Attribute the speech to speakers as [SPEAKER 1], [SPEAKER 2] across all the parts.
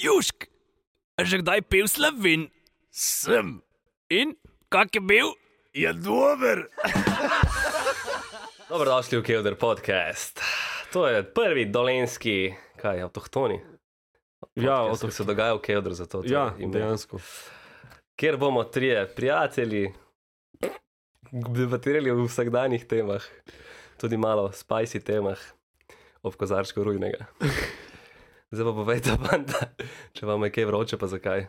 [SPEAKER 1] Južk, a že kdaj pil slovin?
[SPEAKER 2] Sem,
[SPEAKER 1] In kak je bil?
[SPEAKER 2] je dober.
[SPEAKER 3] Dobrodošli v Kevder podcast. To je prvi dolenski, kaj avtohtoni.
[SPEAKER 4] Ja,
[SPEAKER 3] Podcast, ki se dogaja v Kevdru, zato to
[SPEAKER 4] Ja,
[SPEAKER 3] ime.
[SPEAKER 4] dejansko.
[SPEAKER 3] Kjer bomo trije prijatelji debatirali o vsakdanjih temah, tudi malo spajsi temah, ob kozarčku rujnega. Zdaj pa povejte, banda, če vam je kaj vroče, pa zakaj.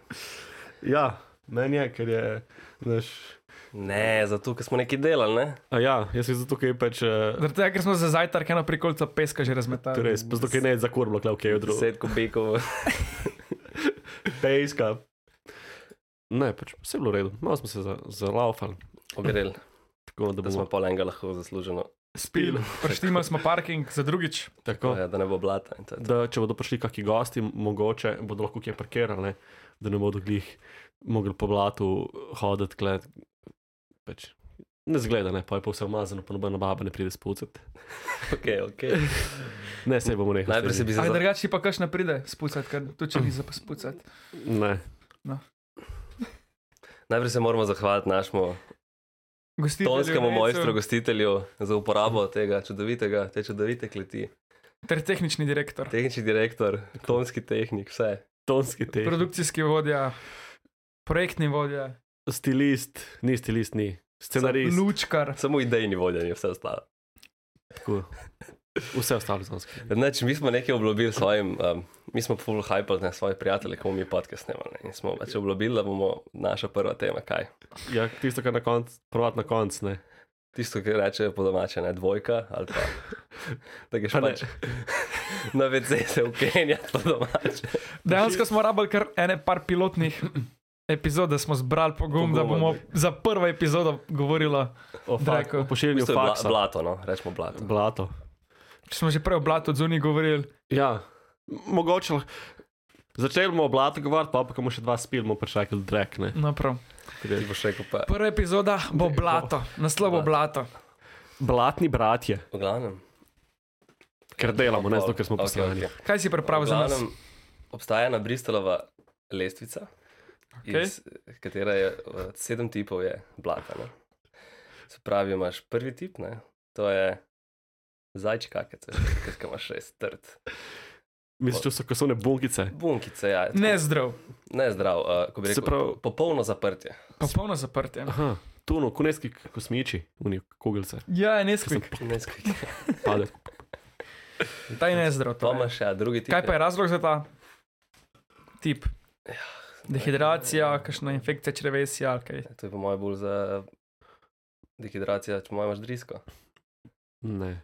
[SPEAKER 4] Ja, meni je, ker je naš.
[SPEAKER 3] Ne, zato ker smo nekaj delali, ne?
[SPEAKER 4] A ja, jaz sem zato, ker je pač. eh,
[SPEAKER 5] Zaradi tega, ker smo za zajtrk eno prikolico peska že razmetali.
[SPEAKER 4] Torej, pa zato, ker ne je za korbo, kaj je od drugega.
[SPEAKER 3] Deset kubikov.
[SPEAKER 4] Pejska. Ne, pač vse je bilo v redu, malo smo se za- zalaufali.
[SPEAKER 3] Oberel,
[SPEAKER 4] Tako da
[SPEAKER 3] da smo
[SPEAKER 4] bomo
[SPEAKER 3] pol enega lahko zasluženo,
[SPEAKER 4] spili.
[SPEAKER 5] Preštimali smo parking za drugič.
[SPEAKER 4] Tako.
[SPEAKER 3] ja, da ne bo blata. in to je to.
[SPEAKER 4] Da, če bodo prišli kakšni gosti, mogoče bodo lahko kje parkirali, ne? da ne bodo glih mogli po blatu hoditi, gled. Pač. Ne zgleda, ne, pa je povsem umazano, pa nobena baba ne pride spucati.
[SPEAKER 3] Okay, okay.
[SPEAKER 4] Ne, se bomo nekaj.
[SPEAKER 3] Najprej se bi
[SPEAKER 5] Ali
[SPEAKER 3] zavedal.
[SPEAKER 5] drugače pa kakšna pride spucati, ker tu če ni za spucati.
[SPEAKER 4] Ne.
[SPEAKER 3] Najprej se moramo zahvaliti našemu
[SPEAKER 5] Gostitelju,
[SPEAKER 3] tonskemu
[SPEAKER 5] rejcu
[SPEAKER 3] mojstru, gostitelju za uporabo tega čudovitega, te čudovite kleti.
[SPEAKER 5] Ter tehnični direktor.
[SPEAKER 3] Tehnični direktor, tonski tehnik, vse.
[SPEAKER 4] Tonski te.
[SPEAKER 5] Produkcijski vodja, projektni vodja,
[SPEAKER 4] Stilist, ni stilist, ni. Scenarist.
[SPEAKER 5] lučkar.
[SPEAKER 3] Samo idejni vodenje, vse ostalo.
[SPEAKER 4] Tako. Vse ostalo znansko.
[SPEAKER 3] Znači, mi smo nekaj obljubili svojim, um, mi smo full hyper na svoje prijatelje, ko bomo mi podcast snemali. ne. In smo pač obljubili, da bomo naša prva tema, kaj.
[SPEAKER 4] Ja, tisto, kar na koncu, provat na koncu, ne.
[SPEAKER 3] Tisto, ki reče po domače, ne dvojka ali pa. Da greš
[SPEAKER 4] Pa ne.
[SPEAKER 3] pač na WC se ukenjati po domače.
[SPEAKER 5] Dejansko smo rabili kar ene par pilotnih epizod, da smo zbrali pogum, da
[SPEAKER 3] Poguma,
[SPEAKER 5] bomo
[SPEAKER 3] ne.
[SPEAKER 5] za prvo epizodo govorili.
[SPEAKER 4] O,
[SPEAKER 5] Drako.
[SPEAKER 4] fak, o
[SPEAKER 3] V
[SPEAKER 4] pošiljanju
[SPEAKER 3] bistvu je bla,
[SPEAKER 4] faksa.
[SPEAKER 3] blato, no, rečemo blato.
[SPEAKER 4] Blato.
[SPEAKER 5] Če smo že prej o blatu od zunij govorili,
[SPEAKER 4] Ja, m- mogoče lahko. Začeli bomo o blatu govoriti, pa pa ko bomo še dva spili, bomo prešakali drek, ne.
[SPEAKER 5] no prav.
[SPEAKER 3] Ti boš rekel pa.
[SPEAKER 5] Prva epizoda bo blato, naslov bo blato.
[SPEAKER 4] Blatni bratje,
[SPEAKER 3] V glavnem.
[SPEAKER 4] ker delamo, ne zato, ker smo poslani. Okay,
[SPEAKER 5] Kaj si pripravil za nas?
[SPEAKER 3] Obstaja ena Bristolova lestvica, okay. iz katera je eh, sedem tipov je blata. Ne? Se pravi, imaš prvi tip, ne? to je zajčji kakec, ker ga imaš res trd.
[SPEAKER 4] okay. Misliš, da so kasovne bunkice?
[SPEAKER 3] Bunkice, ja, je tako
[SPEAKER 5] Ne zdrav,
[SPEAKER 3] ne zdrav, uh, ko bi
[SPEAKER 4] Se
[SPEAKER 3] rekel,
[SPEAKER 4] pravi-
[SPEAKER 3] popolno zaprtje.
[SPEAKER 5] popolno zaprtje.
[SPEAKER 4] Aha, tu no, kuneski kosmiči, unijo kugelce,
[SPEAKER 5] Ja,
[SPEAKER 4] ki so
[SPEAKER 5] neskrik,
[SPEAKER 3] Neskrik.
[SPEAKER 4] pade.
[SPEAKER 5] ta je nezdrav.
[SPEAKER 3] To
[SPEAKER 5] Torej.
[SPEAKER 3] imaš, ja, drugi tip.
[SPEAKER 5] Kaj pa je razlog za ta tip?
[SPEAKER 3] Ja,
[SPEAKER 5] Dehidracija, kakšna infekcija črevesja ali kaj.
[SPEAKER 3] To je po mojem bolj za dehidracijo, če imaš drisko.
[SPEAKER 4] Ne.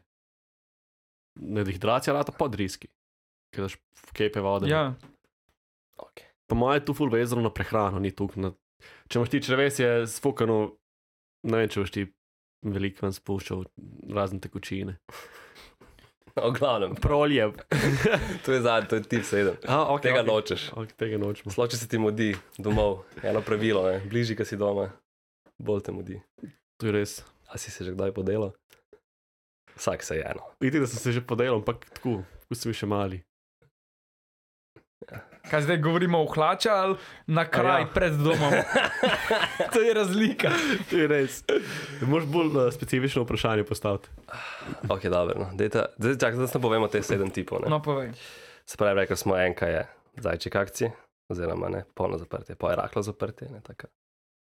[SPEAKER 4] Ne dehidracija, rata pod riski. Ker daš v kepe vode.
[SPEAKER 5] Ja,
[SPEAKER 3] Okay.
[SPEAKER 4] Po mojem je tu ful vezano na prehrano, ni tu. Na... Če imaš ti črvesje sfokano, ne vem, če boš ti veliko vam spuščal razne tekočine.
[SPEAKER 3] O No, glavnem,
[SPEAKER 4] Prolje.
[SPEAKER 3] to je zadnji, to je tip sedem.
[SPEAKER 4] A, okay,
[SPEAKER 3] Tega
[SPEAKER 5] Ja.
[SPEAKER 4] okay.
[SPEAKER 3] nočeš.
[SPEAKER 4] Okay, tega nočemo.
[SPEAKER 3] Slo, če se ti mudi domov, eno pravilo, ne? bližje, ki si doma, bolj te mudi.
[SPEAKER 4] To je res.
[SPEAKER 3] A si se že kdaj podelal? Vsak se je eno.
[SPEAKER 4] Vidite, da sem se že podelal, ampak tako, ko sem bil še mali.
[SPEAKER 5] kaj zdaj govorimo o hlača ali na kraj
[SPEAKER 4] ja.
[SPEAKER 5] ja. pred domom. to je razlika.
[SPEAKER 4] To je res. Možeš bolj uh, specifično vprašanje postaviti.
[SPEAKER 3] Ok, dobro. No. Dejta, zdaj, čak, zdaj ne povemo te sedem tipov. No.
[SPEAKER 5] No, povej.
[SPEAKER 3] Se pravi, rekli smo enka je zajček akcije, oziroma ne, polno zaprtje, pa je raklo zaprtje, ne tako.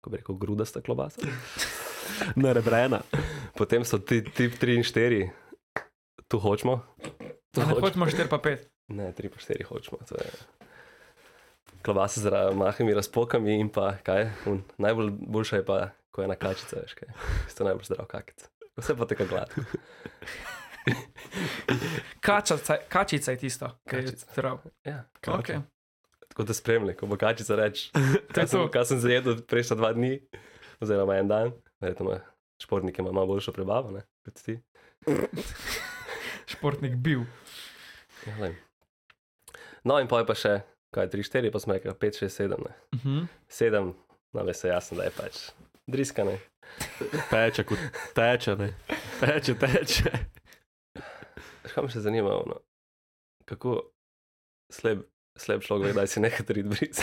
[SPEAKER 3] Ko bi rekel, grudasta klobasa.
[SPEAKER 4] Ne rebrena.
[SPEAKER 3] Potem so ti tip 3 in 4, tu hočemo. Tu
[SPEAKER 5] A Ne hočemo 4 pa 5.
[SPEAKER 3] Ne, 3 pa 4 hočemo. to je Klobasa z ra- mahimi razpokami in pa kaj. Un, najbolj boljša je pa, ko je ena kačica, veš kaj. Isto najbolj zdrav kakec. Vse pa tako gladko.
[SPEAKER 5] Kačaca, kačica je tisto, kar je
[SPEAKER 3] Kačica.
[SPEAKER 5] zdrav.
[SPEAKER 3] Ja.
[SPEAKER 5] Okay.
[SPEAKER 3] Tako da spremljaj, ko bo kačica reč,
[SPEAKER 5] To je
[SPEAKER 3] kaj sem,
[SPEAKER 5] to.
[SPEAKER 3] kaj sem zajedel prejšnja dva dni, oziroma en dan, verjetno ima športnike ima malo boljšo prebavo, ne, kot ti.
[SPEAKER 5] Športnik bil.
[SPEAKER 3] Ja, glej. no in pa je pa še, kaj, 3, 4, pa smo rekli 5, 6, 7, ne.
[SPEAKER 5] Uh -huh.
[SPEAKER 3] 7, no veš, jasno, da je pač driskane.
[SPEAKER 4] Teče, kot teče, ne. Teče, teče.
[SPEAKER 3] Kaj me še zanima, ono, kako slab, slab človek, da si nekaj trid bris.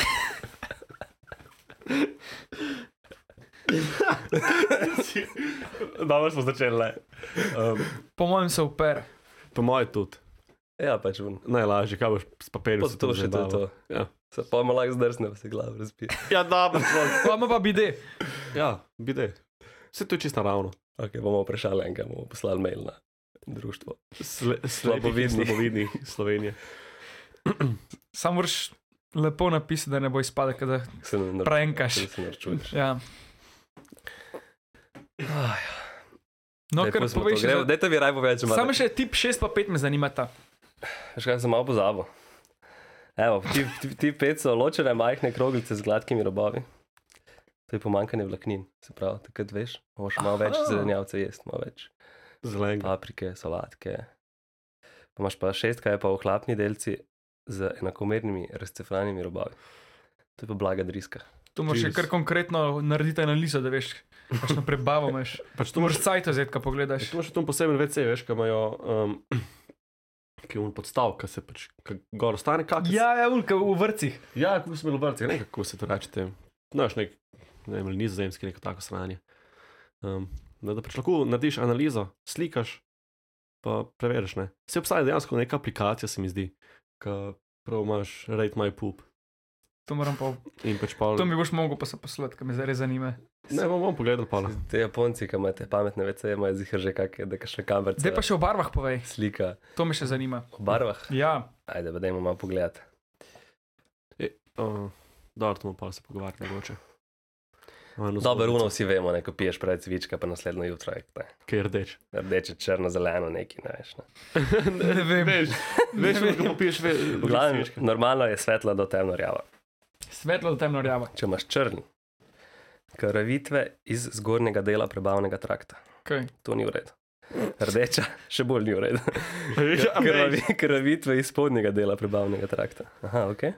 [SPEAKER 4] Dobro smo začeli. le. Um,
[SPEAKER 5] Po mojem se uper.
[SPEAKER 4] po mojem tudi.
[SPEAKER 3] Ja, pač vun.
[SPEAKER 4] Najlažje, kaj boš s papirjem.
[SPEAKER 3] Pa to še to. je to.
[SPEAKER 4] Ja.
[SPEAKER 3] Se pa ima lahko zdrsne, pa se glava razbije.
[SPEAKER 4] Ja, dobro.
[SPEAKER 5] Pa ima pa bide.
[SPEAKER 4] ja, bide. Vse to je čisto naravno.
[SPEAKER 3] Ok, bomo vprašali enega, bomo poslali mail na društvo.
[SPEAKER 4] Sle,
[SPEAKER 3] Slabovidnih.
[SPEAKER 4] slabovidnih Slovenije.
[SPEAKER 5] Sam moraš lepo napisati, da ne bo izpadel, kot da
[SPEAKER 3] Se ne nar-
[SPEAKER 5] prenkaš.
[SPEAKER 3] se ne narčuješ.
[SPEAKER 5] Ja.
[SPEAKER 3] Ah,
[SPEAKER 5] No,
[SPEAKER 3] Daj,
[SPEAKER 5] ker
[SPEAKER 3] pustimo to.
[SPEAKER 5] poveš,
[SPEAKER 3] Gremo-
[SPEAKER 5] da
[SPEAKER 3] Dajte mi raje povedati,
[SPEAKER 5] Samo še tip 6 pa 5 me zanimata.
[SPEAKER 3] Še kaj sem malo pozabil. Evo, ti, ti, ti pet so ločene majhne kroglice z gladkimi robovi. To je pomankanje vlaknin, se pravi, takrat veš, moraš malo več
[SPEAKER 5] Aha.
[SPEAKER 3] zelenjavce jesti, malo več
[SPEAKER 4] Zelenega.
[SPEAKER 3] paprike, solatke. Pa imaš pa šest, kaj je pa ohlapni delci z enakomernimi razcefranimi robovi. To je pa blaga driska.
[SPEAKER 5] To moraš še
[SPEAKER 4] Jeez.
[SPEAKER 5] kar konkretno narediti analizo, da veš, kakšno prebavo imaš.
[SPEAKER 4] Pač E,
[SPEAKER 5] To moraš cajt ozeti, ko pogledaš.
[SPEAKER 4] Tu imaš tam poseben VC, veš, ki imajo, um, ki imajo podstav, ki se pač ka gor ostane. Kak,
[SPEAKER 5] Ja, ja, ulka v vrcih.
[SPEAKER 4] ja, kako smo bili v vrsti, ne vem, kako se to reče. tem. No, još nek, ne vem, ali nizozemski, neko tako sranje. Um, da, da pač lahko narediš analizo, slikaš, pa preveriš. Ne. Se obstaja dejansko neka aplikacija, se mi zdi, ki prav imaš rate my poop.
[SPEAKER 5] To, moram pa,
[SPEAKER 4] In pač pa,
[SPEAKER 5] to mi boš mogel pa se poslati, ker me zdaj res zanima.
[SPEAKER 4] ne bom, bom pogledal, pa
[SPEAKER 3] Te Japonci, ki imate pametne vece, imajo zihar že kakšne, da kakšne kamerce.
[SPEAKER 5] Zdaj pa še o barvah povej,
[SPEAKER 3] slika
[SPEAKER 5] to me še zanima.
[SPEAKER 3] o barvah.
[SPEAKER 5] Ja,
[SPEAKER 3] Ajde, pa dajmo malo pogled.
[SPEAKER 4] Uh, Dobro, to bomo pa se pogovarjali mogoče. Eno
[SPEAKER 3] Dobro,
[SPEAKER 4] zgodbico,
[SPEAKER 3] runo vsi vemo, ne, ko piješ pred cvička, pa naslednjo jutro je kaj.
[SPEAKER 4] Ki je rdeč.
[SPEAKER 3] Rdeče, črno, zeleno, neki najš. Ne.
[SPEAKER 5] ne vem.
[SPEAKER 4] Veš, veš,
[SPEAKER 5] Ne
[SPEAKER 4] ko
[SPEAKER 5] vem.
[SPEAKER 4] popiješ, veš,
[SPEAKER 3] V glavnem, normalno je svetla do temno rjava.
[SPEAKER 5] Svetlo do temno rjava.
[SPEAKER 3] Če imaš črn, krvitve iz zgornjega dela prebavnega trakta.
[SPEAKER 5] Okay.
[SPEAKER 3] To ni v redu. Rdeča, še bolj ni v redu.
[SPEAKER 4] ja, Krvavi.
[SPEAKER 3] Krvi- Krvitve iz spodnjega dela prebavnega trakta. Aha, ok.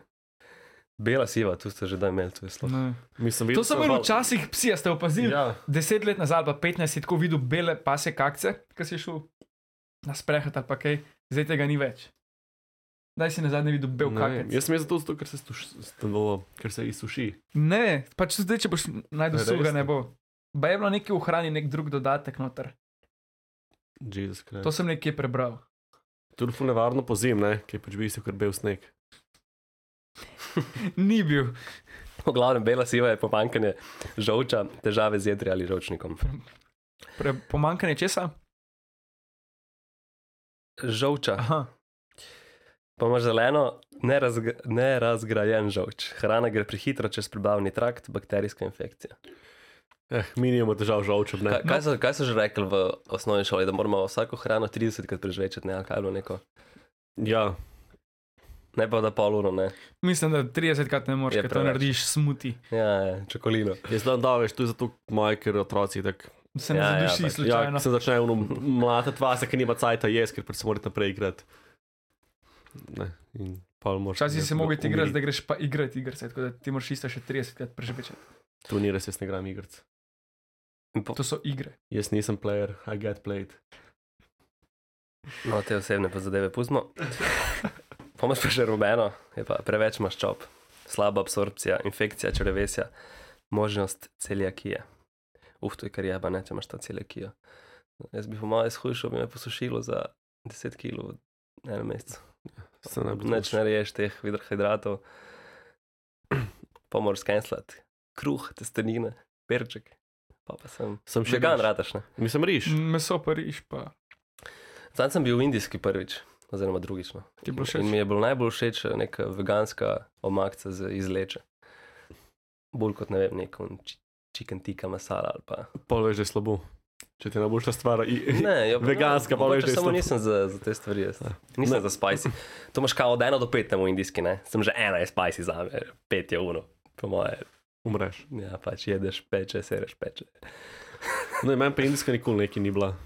[SPEAKER 3] Bela siva, tu ste že da imeli, tu je slo.
[SPEAKER 5] Ne.
[SPEAKER 4] Mislim,
[SPEAKER 5] To sem imel včasih, psi, a ste opazili.
[SPEAKER 4] Ja,
[SPEAKER 5] Deset let nazaj, ali pa 15, si tako videl bele pase kakce, ki si šel na sprehod ali pa kaj, zdaj tega ni več. Zdaj si nazadnje videl bel
[SPEAKER 4] ne vem.
[SPEAKER 5] kakec.
[SPEAKER 4] Jaz sem jaz zato, ker se, stuš, stanovo, ker se izsuši.
[SPEAKER 5] Ne, pač zdaj, če boš najdel
[SPEAKER 4] Ne,
[SPEAKER 5] suga,
[SPEAKER 4] res
[SPEAKER 5] ne
[SPEAKER 4] ne.
[SPEAKER 5] bo. Pa je bilo nekaj v hrani, nek drug dodatek noter.
[SPEAKER 4] Jezus Kristus.
[SPEAKER 5] To sem nekje prebral.
[SPEAKER 4] Tudi ful nevarno pozim, ne, ki pač bi se krbel sneg.
[SPEAKER 5] Ni bil.
[SPEAKER 3] V glavnem, bela siva je pomankanje žolča, težave z jedri ali žolčnikom.
[SPEAKER 5] Pre, pomankanje česa?
[SPEAKER 3] Žolča.
[SPEAKER 5] Aha.
[SPEAKER 3] Pa imaš zeleno, nerazg nerazgrajen žolč. Hrana gre prehitro čez prebavni trakt, bakterijska infekcija. No.
[SPEAKER 4] Eh, mi nimamo težav z žolčem, ne.
[SPEAKER 3] Kaj, kaj, so, kaj so že rekli v osnovni šoli, da moramo vsako hrano 30krat prežvečati, ne, ali kaj je bilo neko.
[SPEAKER 4] Ja,
[SPEAKER 3] Ne pa da pol uro, ne.
[SPEAKER 5] Mislim, da 30krat ne moreš,
[SPEAKER 3] Je
[SPEAKER 5] ker to
[SPEAKER 3] preveč.
[SPEAKER 5] narediš smuti.
[SPEAKER 3] Ja, ja čokolino.
[SPEAKER 4] jaz znam, da veš, to je zato, maj, ker otroci tako.
[SPEAKER 5] Se ne
[SPEAKER 3] Ja, ja, pač.
[SPEAKER 5] zaduši
[SPEAKER 3] Ja,
[SPEAKER 4] Ja,
[SPEAKER 5] slučajno.
[SPEAKER 4] se začnejo mlatiti vase, ker nima cajta jaz, ker pač se morate naprej igrati. Ne, in pa moraš.
[SPEAKER 5] Včasih si
[SPEAKER 4] nekako
[SPEAKER 5] mogel igrati,
[SPEAKER 4] umiriti.
[SPEAKER 5] da greš pa igrati igrice, tako da ti moraš isto še 30krat prežvečati.
[SPEAKER 4] To ni res, jaz ne igram igric.
[SPEAKER 3] In po-
[SPEAKER 5] To so igre.
[SPEAKER 4] Jaz nisem player, I get played.
[SPEAKER 3] No, te osebne pa zadeve pustimo. Pa imaš pa še rumeno, je pa preveč maščob, slaba absorpcija, infekcija črevesja, možnost celijakije. Uf, to je kar jeba, ne, če imaš ta celijakijo. Jaz bi po mojem shujšal, bi me posušilo za 10 kg v enem mesecu.
[SPEAKER 4] Se ne bi
[SPEAKER 3] Neč ne reješ teh hidratov, pa moraš skenslati. Kruh, testenine, perček. Pa pa sem.
[SPEAKER 4] Sem
[SPEAKER 3] Še
[SPEAKER 4] še
[SPEAKER 3] gan
[SPEAKER 4] gan rad.
[SPEAKER 3] rataš, ne?
[SPEAKER 4] Mislim, riš.
[SPEAKER 5] Meso pa riš, pa
[SPEAKER 3] Zdaj sem bil v indijski prvič, oziroma drugič. No.
[SPEAKER 5] ti bo še
[SPEAKER 3] In mi je bilo najbolj všeč eh, neka veganska omakca z izleče. Bolj kot ne vem, nek un či- chicken tikka masala ali pa.
[SPEAKER 4] Pol veš, da je slabo. Če ti ne boš ta stvar. i-
[SPEAKER 3] Ne, jo,
[SPEAKER 4] Veganska, pa veš,
[SPEAKER 3] mogoče
[SPEAKER 4] da je
[SPEAKER 3] samo
[SPEAKER 4] slab.
[SPEAKER 3] nisem za, za te stvari. Jaz. Nisem
[SPEAKER 4] Ne.
[SPEAKER 3] za spicy. To imaš kao od 1 do 5 tam v indijski, ne? Sem že ena je spicy za me, 5 je uno, po moje.
[SPEAKER 4] Umreš.
[SPEAKER 3] Ja, pač jedeš peče, sereš peče.
[SPEAKER 4] No, in meni pa indijska nikoli neki ni bila.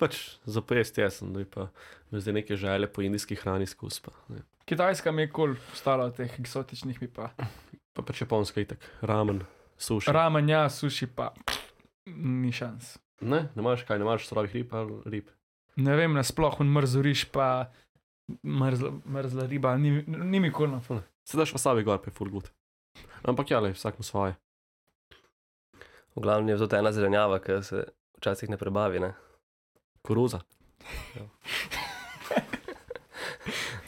[SPEAKER 4] Pač za pojest jaz sem, da pa me zdaj neke želje po indijski hrani skuspa. ne.
[SPEAKER 5] Kitajska mi je kul, ostalo od teh eksotičnih mi pa.
[SPEAKER 4] Pa pač japonska itak, ramen, suši.
[SPEAKER 5] Ramen, ja, suši pa. Ni šans.
[SPEAKER 4] ne, ne imaš kaj, ne imaš surovih rib ali rib.
[SPEAKER 5] Ne vem, nasploh un mrzuriš, pa mrzla, mrzla riba, ni, ni mi no. kolno.
[SPEAKER 4] Se daš wasabi gor, pa je full good. Ampak ja, le, vsak mu svoje.
[SPEAKER 3] V glavnem je tudi ena zelenjava, ki se včasih ne prebavi. Ne?
[SPEAKER 4] Koruza.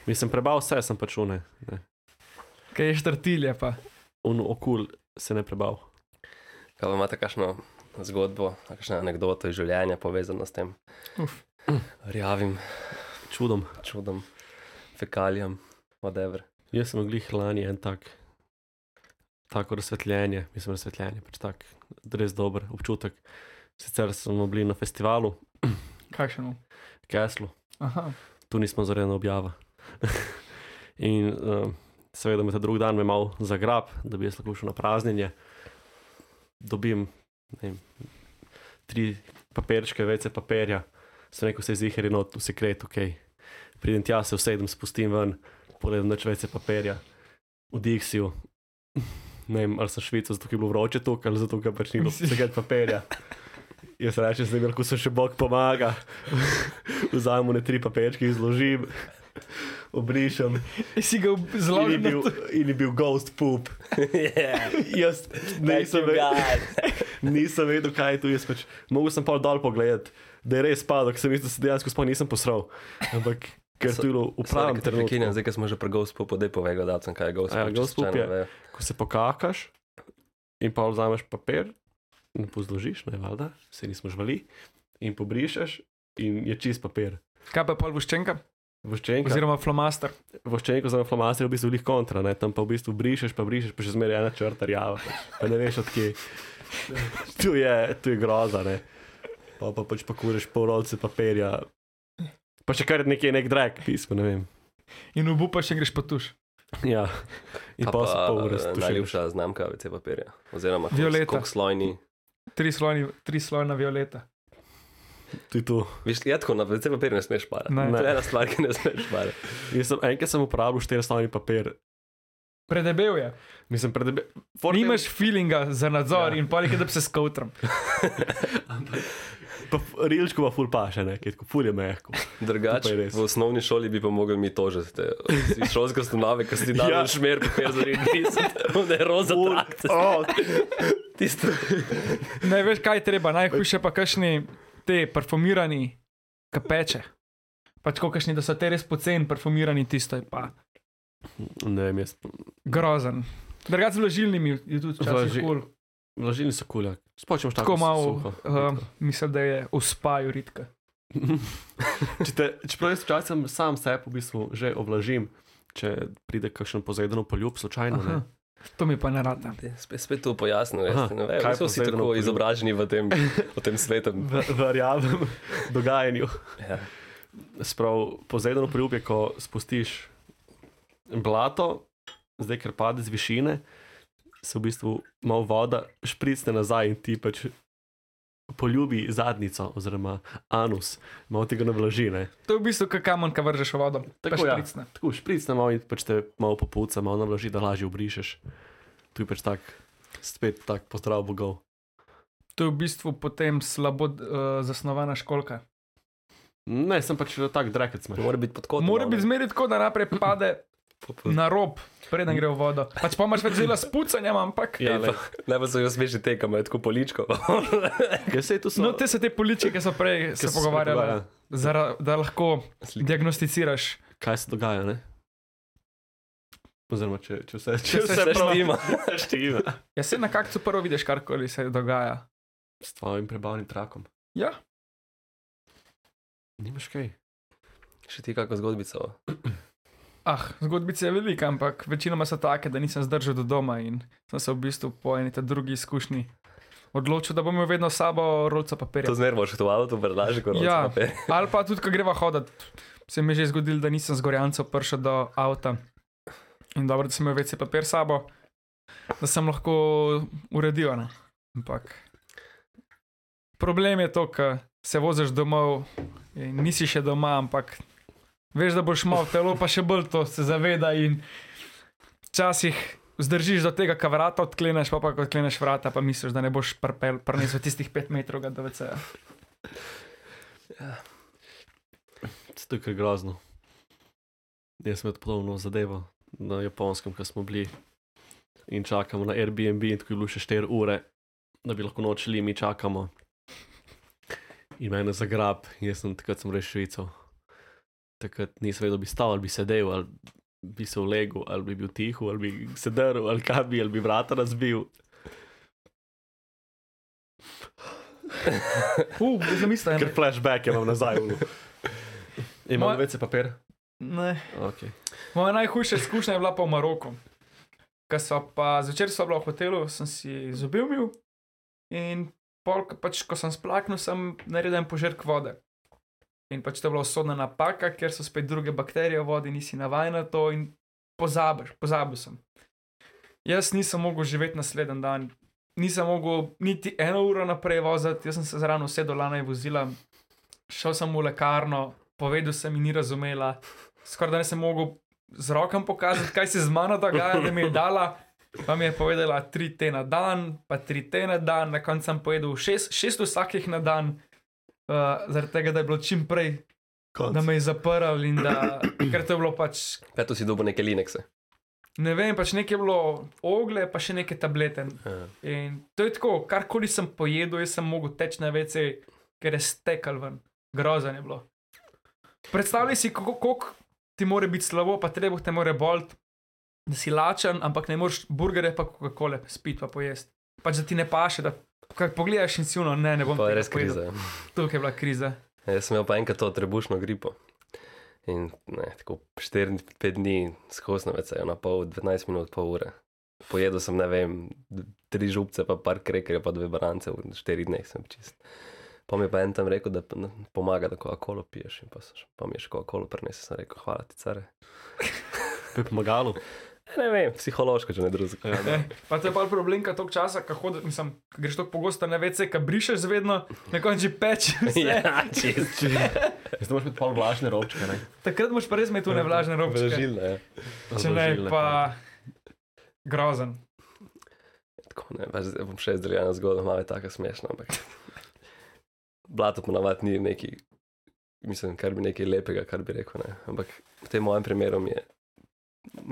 [SPEAKER 4] Mislim, prebal vse, sem pač une.
[SPEAKER 5] Kaj je štrtilje pa?
[SPEAKER 4] Uno okul se ne prebal.
[SPEAKER 3] Kaj pa imate kakšno zgodbo, kakšno anegdoto iz življenja povezano s tem
[SPEAKER 5] Uf.
[SPEAKER 3] rjavim
[SPEAKER 4] Čudom.
[SPEAKER 3] čudom, fekalijam, whatever.
[SPEAKER 4] Jaz sem glih lani en tak, tako razsvetljenje, mislim, razsvetljenje, pač tak, res dober občutek. Sicer smo bili na festivalu,
[SPEAKER 5] Kakšen?
[SPEAKER 4] Keslu,
[SPEAKER 5] Aha,
[SPEAKER 4] tu nismo zarejena objava. In uh, seveda me ta drugi dan me malo zagrab, da bi jaz lahko šel na praznjenje. Dobim ne vem, tri papirčke, vece papirja, sem rekel, se ziheri not v sekret, ok. Pridem tja, se usedem, spustim ven, pogledam noč vece papirja, v Dixiju. Ne vem, ali sem švico, zato ker je bilo vroče tukaj, ali zato ker pač ni bilo sekret papirja. Jaz rečem, zdaj lahko se še Bog pomaga. Vzamem ne tri papirčke, izložim, obrišem.
[SPEAKER 5] si ga
[SPEAKER 4] In je,
[SPEAKER 5] zložil.
[SPEAKER 4] bil, in je bil ghost poop.
[SPEAKER 3] yeah,
[SPEAKER 4] Jaz nisem, ve, nisem vedel, kaj je tu. Jaz pač, mogel sem pa dol pogledati, da je res padel, ker sem mislil, da se dejansko sploh nisem posral. Ampak ker
[SPEAKER 3] So-
[SPEAKER 4] tu je bilo v pravem
[SPEAKER 3] Prekinjam,
[SPEAKER 4] trenutku,
[SPEAKER 3] zdaj ko smo že pri Ghostu, podaj povej, da sem kaj Ghostu.
[SPEAKER 4] Ja, Ghost Poop je- ko se pokakaš in pa vzameš papir in pozložiš, ne valjda, se nismo žvali, in pobrišeš in je čist papir.
[SPEAKER 5] Kaj pa je pol voščenka?
[SPEAKER 4] Voščenka,
[SPEAKER 5] Oziroma flomaster.
[SPEAKER 4] voščenko za inflamacijo je v bistvu lih kontra, ne? tam pa v bistvu brišeš, pa brišeš, pa še zmeraj ena črta rjava, pač. pa ne veš odkje. Tu je, tu je groza, ne. Pa pa pač pakuraš pol rolce papirja. Pa še kar nekje nek drag pismo, ne vem.
[SPEAKER 5] In obupaš in greš pa tuš.
[SPEAKER 4] Ja. In pa se pol ure stušiš.
[SPEAKER 3] eh, Najljubša znamka VC papirja. Oziroma,
[SPEAKER 5] Violeta.
[SPEAKER 3] kako slojni.
[SPEAKER 5] Tri, slojni, tri slojna violeta.
[SPEAKER 4] Tu je tu.
[SPEAKER 3] Veš, ja, tako na VC papirju ne smeš parati.
[SPEAKER 5] Ne.
[SPEAKER 3] To je
[SPEAKER 4] Ne.
[SPEAKER 3] ena stvar, ki ne smeš parati.
[SPEAKER 4] Jaz sem enkrat sem uporabil štiristavni papir.
[SPEAKER 5] Predebel je.
[SPEAKER 4] Mislim, pred...
[SPEAKER 5] Nimaš feelinga za nadzor
[SPEAKER 4] Ja.
[SPEAKER 5] ja. in palik je, da bi se skotram.
[SPEAKER 4] Pa rilčko pa ful paše, ne, ki je tako ful je mehko. To pa je
[SPEAKER 3] Drugače,
[SPEAKER 4] res.
[SPEAKER 3] v osnovni šoli bi pa mogli mi to že. te- iz Šolske ustanove, ki si ti dal
[SPEAKER 4] Ja.
[SPEAKER 3] šmer, papir za rinki, da je roza trakt.
[SPEAKER 4] Oh,
[SPEAKER 3] Tisto.
[SPEAKER 5] Ne veš, kaj je treba. Najhujše pa kašni te parfumirani kapeče. Pač ko kašni, da so te res poceni parfumirani, tisto je pa
[SPEAKER 4] ne vem, jaz
[SPEAKER 5] grozen. Drugač z vlažilnimi je tudi
[SPEAKER 4] Vlaži-
[SPEAKER 5] včasih kul.
[SPEAKER 4] Vlažili so kulja. Spočem šta.
[SPEAKER 5] Tako malo, uh, mislim, da je uspaju ritka.
[SPEAKER 4] če te, čeprav jaz včasih sam sebe v bistvu že oblažim, če pride kakšen pozajeden poljub, slučajno.
[SPEAKER 5] Aha.
[SPEAKER 4] Ne.
[SPEAKER 5] To mi pa ne rata.
[SPEAKER 3] Spet, spet to pojasnil,
[SPEAKER 4] Aha,
[SPEAKER 3] veste, ne vem, kaj
[SPEAKER 4] kaj
[SPEAKER 3] so vsi
[SPEAKER 4] posebno
[SPEAKER 3] tako
[SPEAKER 4] poljub?
[SPEAKER 3] izobraženi v tem, v tem svetu.
[SPEAKER 4] V- Verjamem dogajanju.
[SPEAKER 3] Ja.
[SPEAKER 4] Sprav, pozajeden poljub je, ko spustiš blato, zdaj ker pade z višine, se v bistvu malo voda špricne nazaj in ti pač. Poljubi zadnjico, oziroma anus, malo tega ne vlaži. Ne?
[SPEAKER 5] To je v bistvu kot kamen, ki vržeš v vodo.
[SPEAKER 4] Tako,
[SPEAKER 5] Tako
[SPEAKER 4] ja.
[SPEAKER 5] je. Ja.
[SPEAKER 4] Tako špricne malo in pač te malo popuca, malo navlaži, da lažje obrišeš. Tu je pač tak, spet tak pozdrav bogov.
[SPEAKER 5] To je v bistvu potem slabo uh, zasnovana školka.
[SPEAKER 4] Ne, sem pač tak drakec.
[SPEAKER 3] Mora biti pod kotom.
[SPEAKER 5] Mora
[SPEAKER 3] ali?
[SPEAKER 5] biti zmeri tako, da najprej pade
[SPEAKER 3] Po- po-
[SPEAKER 5] na rob, preden gre v vodo. Pač pa imaš več dela s pucanjem, ampak.
[SPEAKER 4] Ja,
[SPEAKER 3] Ej, pa- Najbolj so jo smešni te, ki imajo tako poličko.
[SPEAKER 4] Kaj se je tu
[SPEAKER 5] No, te so te poličke, ki so prej se pogovarjali, zara- da lahko
[SPEAKER 3] Slik-
[SPEAKER 5] diagnosticiraš.
[SPEAKER 4] Kaj se dogaja, ne? Oziroma, če, če vse
[SPEAKER 5] Če vse
[SPEAKER 4] prav-
[SPEAKER 3] štima.
[SPEAKER 4] vse štima.
[SPEAKER 5] Ja, se na kakcu prvo vidiš, karkoli se dogaja.
[SPEAKER 4] S tvojim prebavnim trakom.
[SPEAKER 5] Ja.
[SPEAKER 4] Nimaš kaj.
[SPEAKER 3] Še ti kako zgodbico.
[SPEAKER 5] Ah, zgodbice je veliko, ampak večinoma so take, da nisem zdržal do doma in sem se v bistvu po eni ta drugi izkušnji odločil, da bom imel vedno s sabo rolca papirja.
[SPEAKER 3] To zmerno še to avto vrlaži, kot
[SPEAKER 5] Ja.
[SPEAKER 3] roza.
[SPEAKER 5] Ali pa tudi, ko greva hoditi. Se mi je že zgodilo, da nisem z Gorjancev prišel do avta. In dobro, da sem imel večji papir s sabo, da sem lahko uredil. a Ne? Ampak problem je to, ker se voziš domov in nisi še doma, ampak veš, da boš mal telo, pa še bolj to se zaveda. In včasih zdržiš do tega, ka vrata odkleneš, pa pa ko odkleneš vrata, pa misliš, da ne boš prpel, prnesel tistih pet metrov, ga do VC-ja.
[SPEAKER 4] To je kar grozno. Jaz sem imel podobno zadevo na japonskem, ko smo bili in čakamo na Airbnb, in tako je bilo še 4 ure, da bi lahko nočili, mi čakamo. In mene zagrab, in jaz sem takrat sem rešil švico. Takrat nisem vedel, bi stal ali bi sedel, ali bi se ulegel, ali bi bil tiho, ali bi se drl, ali kaj bi, ali bi vrata razbil.
[SPEAKER 5] Uf, zdaj mislim.
[SPEAKER 4] Ker flashback imam nazaj. v- Imam
[SPEAKER 5] Moje-
[SPEAKER 4] več papir.
[SPEAKER 5] Ne.
[SPEAKER 4] Okay.
[SPEAKER 5] Moja najhujša izkušnja je bila pa v Maroku. Ko so pa zvečer so bila v hotelu, sem si zobil mil in pol, ko pač, ko sem splaknil, sem naredil en požirk vode. In pač to je bila usodna napaka, ker so spet druge bakterije v vodi, nisi navajen na to in pozabiš, pozabil sem. Jaz nisem mogel živeti naslednji dan, nisem mogel niti eno uro naprej voziti, jaz sem se zraven vse dolana in vozila, šel sem v lekarno, povedal sem in ni razumela, skoraj da nisem mogel z rokom pokazati, kaj se z mano dogaja, da mi je dala. Pa mi je povedala tri te na dan, pa tri te na dan, na koncu sem pojedel šest, šest vsakih na dan, uh, zaradi tega, da je bilo čim prej, da me je zaprl in da, ker to je bilo pač
[SPEAKER 3] Kaj to si dobil neke Linuxe?
[SPEAKER 5] ne vem, pač nekaj je bilo ogle, pa še neke tablete.
[SPEAKER 3] Ja.
[SPEAKER 5] In to je tako, karkoli sem pojedel, jaz sem mogel teči na vece, ker je stekel ven. Grozen je bilo. Predstavljaj si, kako koliko ti more biti slabo, pa treba te more bolt, da si lačen, ampak ne moreš burgerje pa Coca-Cola spiti pa pojesti. Pač da ti ne paše, da kaj pogledaš in si uno, ne, ne bom
[SPEAKER 3] Pa je
[SPEAKER 5] tega
[SPEAKER 3] res
[SPEAKER 5] pojedel."
[SPEAKER 3] kriza. Ja,
[SPEAKER 5] Tukaj je bila kriza.
[SPEAKER 3] Jaz sem imel pa enkrat to trebušno gripo. In ne, tako 4-5 dni skozi novice, na pol, 12 minut, pol ure. Pojedel sem, ne vem, d- tri župce, pa par krekerjev, pa dve barance, v 4 dneh sem čist. Pa mi je pa en tam rekel, da p- n- pomaga, da Coca-Cola piješ. in Pa, so še- pa mi je še Coca-Cola prinesel, sem rekel, hvala ti, care.
[SPEAKER 4] Bi pomagalo.
[SPEAKER 3] Ne vem, psihološko, če ne drugega.
[SPEAKER 4] Ja,
[SPEAKER 5] Ne, pa to je pa problem, ko toliko časa, ko hodiš, mislim, ko greš tako pogosto na vece, ko brišeš vedno, na koncu peče vse.
[SPEAKER 3] Ja, čist.
[SPEAKER 4] Zdaj moraš imeti pol vlažne robčke. Ne?
[SPEAKER 5] Takrat moš pa res imeti
[SPEAKER 3] Ja,
[SPEAKER 5] tu nevlažne robe.
[SPEAKER 3] Blažilno je.
[SPEAKER 5] Če ne,
[SPEAKER 4] Razložilne
[SPEAKER 5] pa grozen.
[SPEAKER 3] Tako ne, pač zdaj bom še izdeljena zgodba, malo je tako smešno, ampak blato ponavadi ni neki, mislim, kar bi nekaj lepega, kar bi rekel. Ne. Ampak v tem mojem primeru mi je,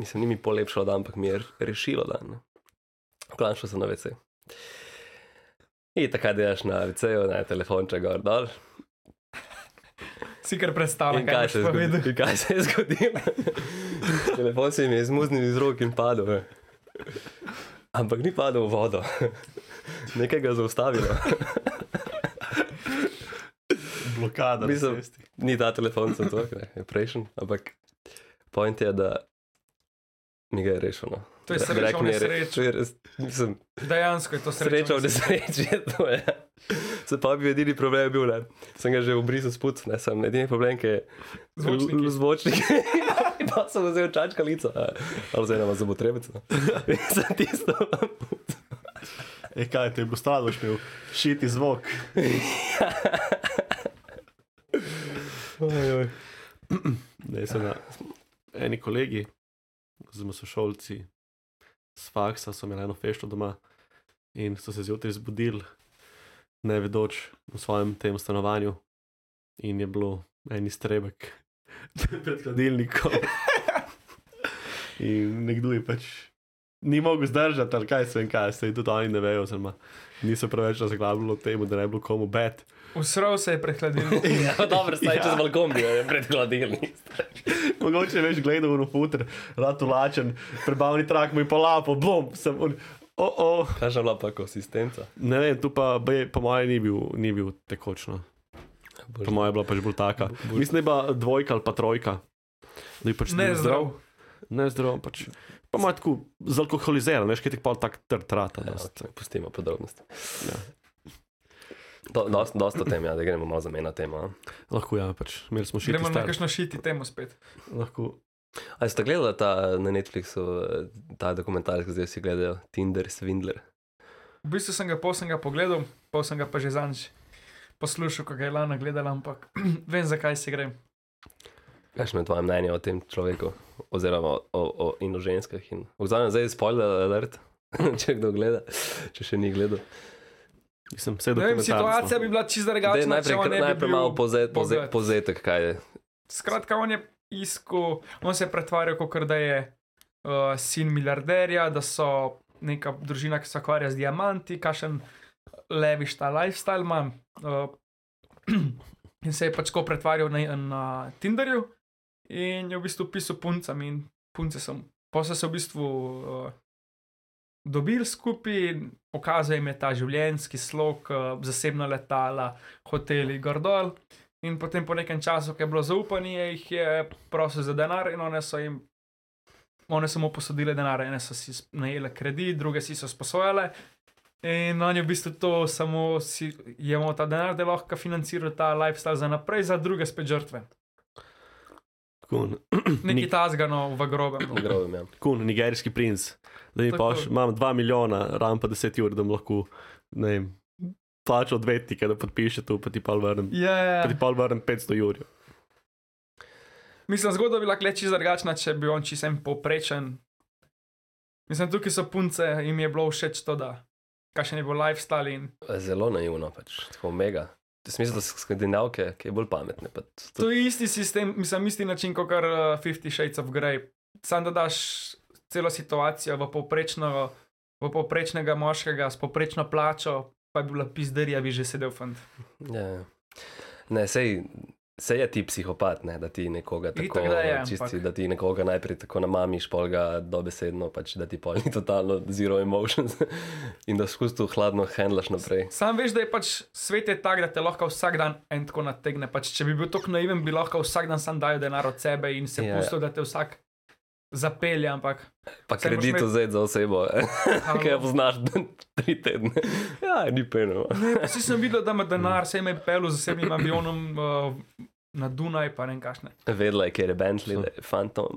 [SPEAKER 3] mislim, ni mi polepšalo dan, ampak mi je rešilo dan. ne. V glavnem šel sem na VC. In takrat delaš na VC-ju, na telefonča gor dol.
[SPEAKER 5] Si kar predstavljam,
[SPEAKER 3] In kaj
[SPEAKER 5] kaj
[SPEAKER 3] se
[SPEAKER 5] si
[SPEAKER 3] je
[SPEAKER 5] povedal.
[SPEAKER 3] zgodilo? In kaj se je zgodilo? Telefon se mi je zmuznil iz rok in padel. ne. Ampak ni padel v vodo. Nekaj ga je zaustavilo.
[SPEAKER 4] pa- Blokada. na
[SPEAKER 3] Mislim-
[SPEAKER 4] cesti.
[SPEAKER 3] Ni ta telefon, sem to, ne, je prejšen. Ampak point je, da mi ga je no. rešilo.
[SPEAKER 5] To je sreča v nesreči.
[SPEAKER 3] Mislim,
[SPEAKER 5] Dejansko je to sreča
[SPEAKER 3] sreča v
[SPEAKER 5] v nesreči.
[SPEAKER 3] nesreči je to. Ja. Se pa bi edini problem je bil, ne. sem ga že obrisal sput, ne sem edini problem, ki je
[SPEAKER 5] Zvočniki.
[SPEAKER 3] L- Zvočniki. In pa sem vzel čačkalico, eh, ali oziroma zabotrebico. Za tisto.
[SPEAKER 4] E, kaj te je bilo stalo, boš imel šiti zvok. Ne, sem na eni kolegi, oziroma sošolci s faksa, so imeli eno fešto doma in so se zjutraj zbudili, ne vedoč v svojem tem stanovanju, in je bilo en iztrebek pred hladilnikom. In nekdo je pač ni mogel zdržati, ali kaj se vem, kaj se tudi oni ne vejo, oziroma niso preveč razglabljali o tem, da ne bi bilo komu bet.
[SPEAKER 5] Usrov se je prehladil.
[SPEAKER 3] Ja, dobro, staj
[SPEAKER 4] Ja.
[SPEAKER 3] čez balkon bi jo pred hladilnik.
[SPEAKER 4] Mogoče je več gledal v futer, rad ulačen, prebavni trak mu je polapo, blom, sem on. Oh, oh.
[SPEAKER 3] Kakšna bila pa konsistenca?
[SPEAKER 4] Ne vem, tu pa, baje, po mojem, ni bil, ni bil tekočno. Po mojem, je bila pač bolj taka. Mislim, da je bila dvojka ali pa trojka. Da je pač
[SPEAKER 5] Ne
[SPEAKER 4] bil
[SPEAKER 5] zdrav.
[SPEAKER 4] Ne zdrav, pač. Pa ima tako zalkoholiziran, veš, kaj ti pa tako trtrata.
[SPEAKER 3] Ja,
[SPEAKER 4] dosti.
[SPEAKER 3] ok, Pustimo podrobnosti.
[SPEAKER 4] Ja.
[SPEAKER 3] Do- dost- Dosta tem, ja, da gremo malo za mena tema.
[SPEAKER 4] Lahko ja, pač. Imeli smo še
[SPEAKER 5] Gremo na
[SPEAKER 4] nekaj.
[SPEAKER 5] kakšno šiti temo spet.
[SPEAKER 4] Lahko
[SPEAKER 3] A ste gledali ta na Netflixu, eh, ta dokumentarec, ki zdaj si gledajo, Tinder Swindler?
[SPEAKER 5] V bistvu sem ga pol sem ga pogledal, pol sem ga pa že zanč poslušal, ko ga je Lana gledala, ampak vem, zakaj se gre.
[SPEAKER 3] Kakšno je tvoje mnenje o tem človeku, oziroma o, o, o, in o ženskah? In... Vzamem zdaj spoiler alert, če kdo gleda, če še ni gledal.
[SPEAKER 4] Mislim, vse
[SPEAKER 5] Ne vem, situacija bi bila čisto
[SPEAKER 3] no. Daj,
[SPEAKER 5] drugačna.
[SPEAKER 3] najprej
[SPEAKER 5] no, če on ne bi
[SPEAKER 3] najprej
[SPEAKER 5] bil
[SPEAKER 3] malo poze, poze,
[SPEAKER 5] bogat.
[SPEAKER 3] pozetek, kaj je.
[SPEAKER 5] Skratka, on je iskal, on se je pretvarjal, kot da je uh, sin milijarderja, da so neka družina, ki se ukvarja z diamanti, kašen leviš ta lifestyle ima. Uh, in se je pač tako pretvarjal na, na Tinderju in je v bistvu pisal puncam in punce sem. Posel se je v bistvu uh, dobil skupaj, in pokazal jim je ta življenjski slog, uh, zasebna letala, hoteli, gordol. In potem po nekem času, ki je bilo zaupanje, jih je prosil za denar in one so jim one so mu posodile denar, ene so si sp- najele kredit, druge si so sposojale. In on je v bistvu to samo si jemo ta denar, da lahko financira ta lifestyle za naprej, za druge spet žrtve.
[SPEAKER 4] Kun,
[SPEAKER 5] Nekaj
[SPEAKER 4] Nik-
[SPEAKER 5] tasgano v grobem. no.
[SPEAKER 3] Na grobem, ja.
[SPEAKER 4] kun, nigerijski princ. Da mi
[SPEAKER 5] Tako.
[SPEAKER 4] paš, imam 2 milijona, ram pa 10 ur, da mi lahko, ne vem, plača odvetnike, da podpiše to, pa ti pa vrnem.
[SPEAKER 5] Yeah.
[SPEAKER 4] Pa ti pa vrnem 500 jurjev.
[SPEAKER 5] Mislim, zgodba bi bila kleči drugačna, če bi on čisem povprečen. Mislim, tukaj so punce, jim je bilo všeč to, da kakšen je bil lifestyle in
[SPEAKER 3] Zelo naivno, pač tako mega. Jaz mislim, da so skandinavke, ki je bolj pametne. Pa to,
[SPEAKER 5] To je isti sistem, mislim, isti način kot kar uh, 50 Shades of Grey. Sam da daš celo situacijo v, povprečno, v povprečnega moškega s povprečno plačo, pa bi bila pizderija, bi že sedel fant.
[SPEAKER 3] ja, ja. Ne, sej, sej je ti psihopat, ne, da ti nekoga
[SPEAKER 5] Itak,
[SPEAKER 3] tako eh,
[SPEAKER 5] da je,
[SPEAKER 3] čisti,
[SPEAKER 5] ampak-
[SPEAKER 3] da ti nekoga najprej tako namamiš, pol ga dobesedno, pač, da ti polni totalno zero emotions in da skozi to hladno handlaš naprej.
[SPEAKER 5] Sam veš, da je pač svet je tak, da te lahko vsak dan en tako nategne. Pač, če bi bil tako naiven, bi lahko vsak dan sam dajal denar od sebe in se
[SPEAKER 3] Ja,
[SPEAKER 5] yeah.
[SPEAKER 3] ja.
[SPEAKER 5] pustil, da te vsak zapelje, ampak
[SPEAKER 3] Pa
[SPEAKER 5] Saj moraš
[SPEAKER 3] kredit
[SPEAKER 5] imeti-
[SPEAKER 3] vzeti za osebo, ki jo poznaš tri tedne. Ja, ni peno.
[SPEAKER 5] Vsi sem videl, da ima denar, se je pel z zasebnim avionom uh, na Dunaj, pa ne vem kakšne.
[SPEAKER 3] Vedela je, kje je Bentley, da je fantom,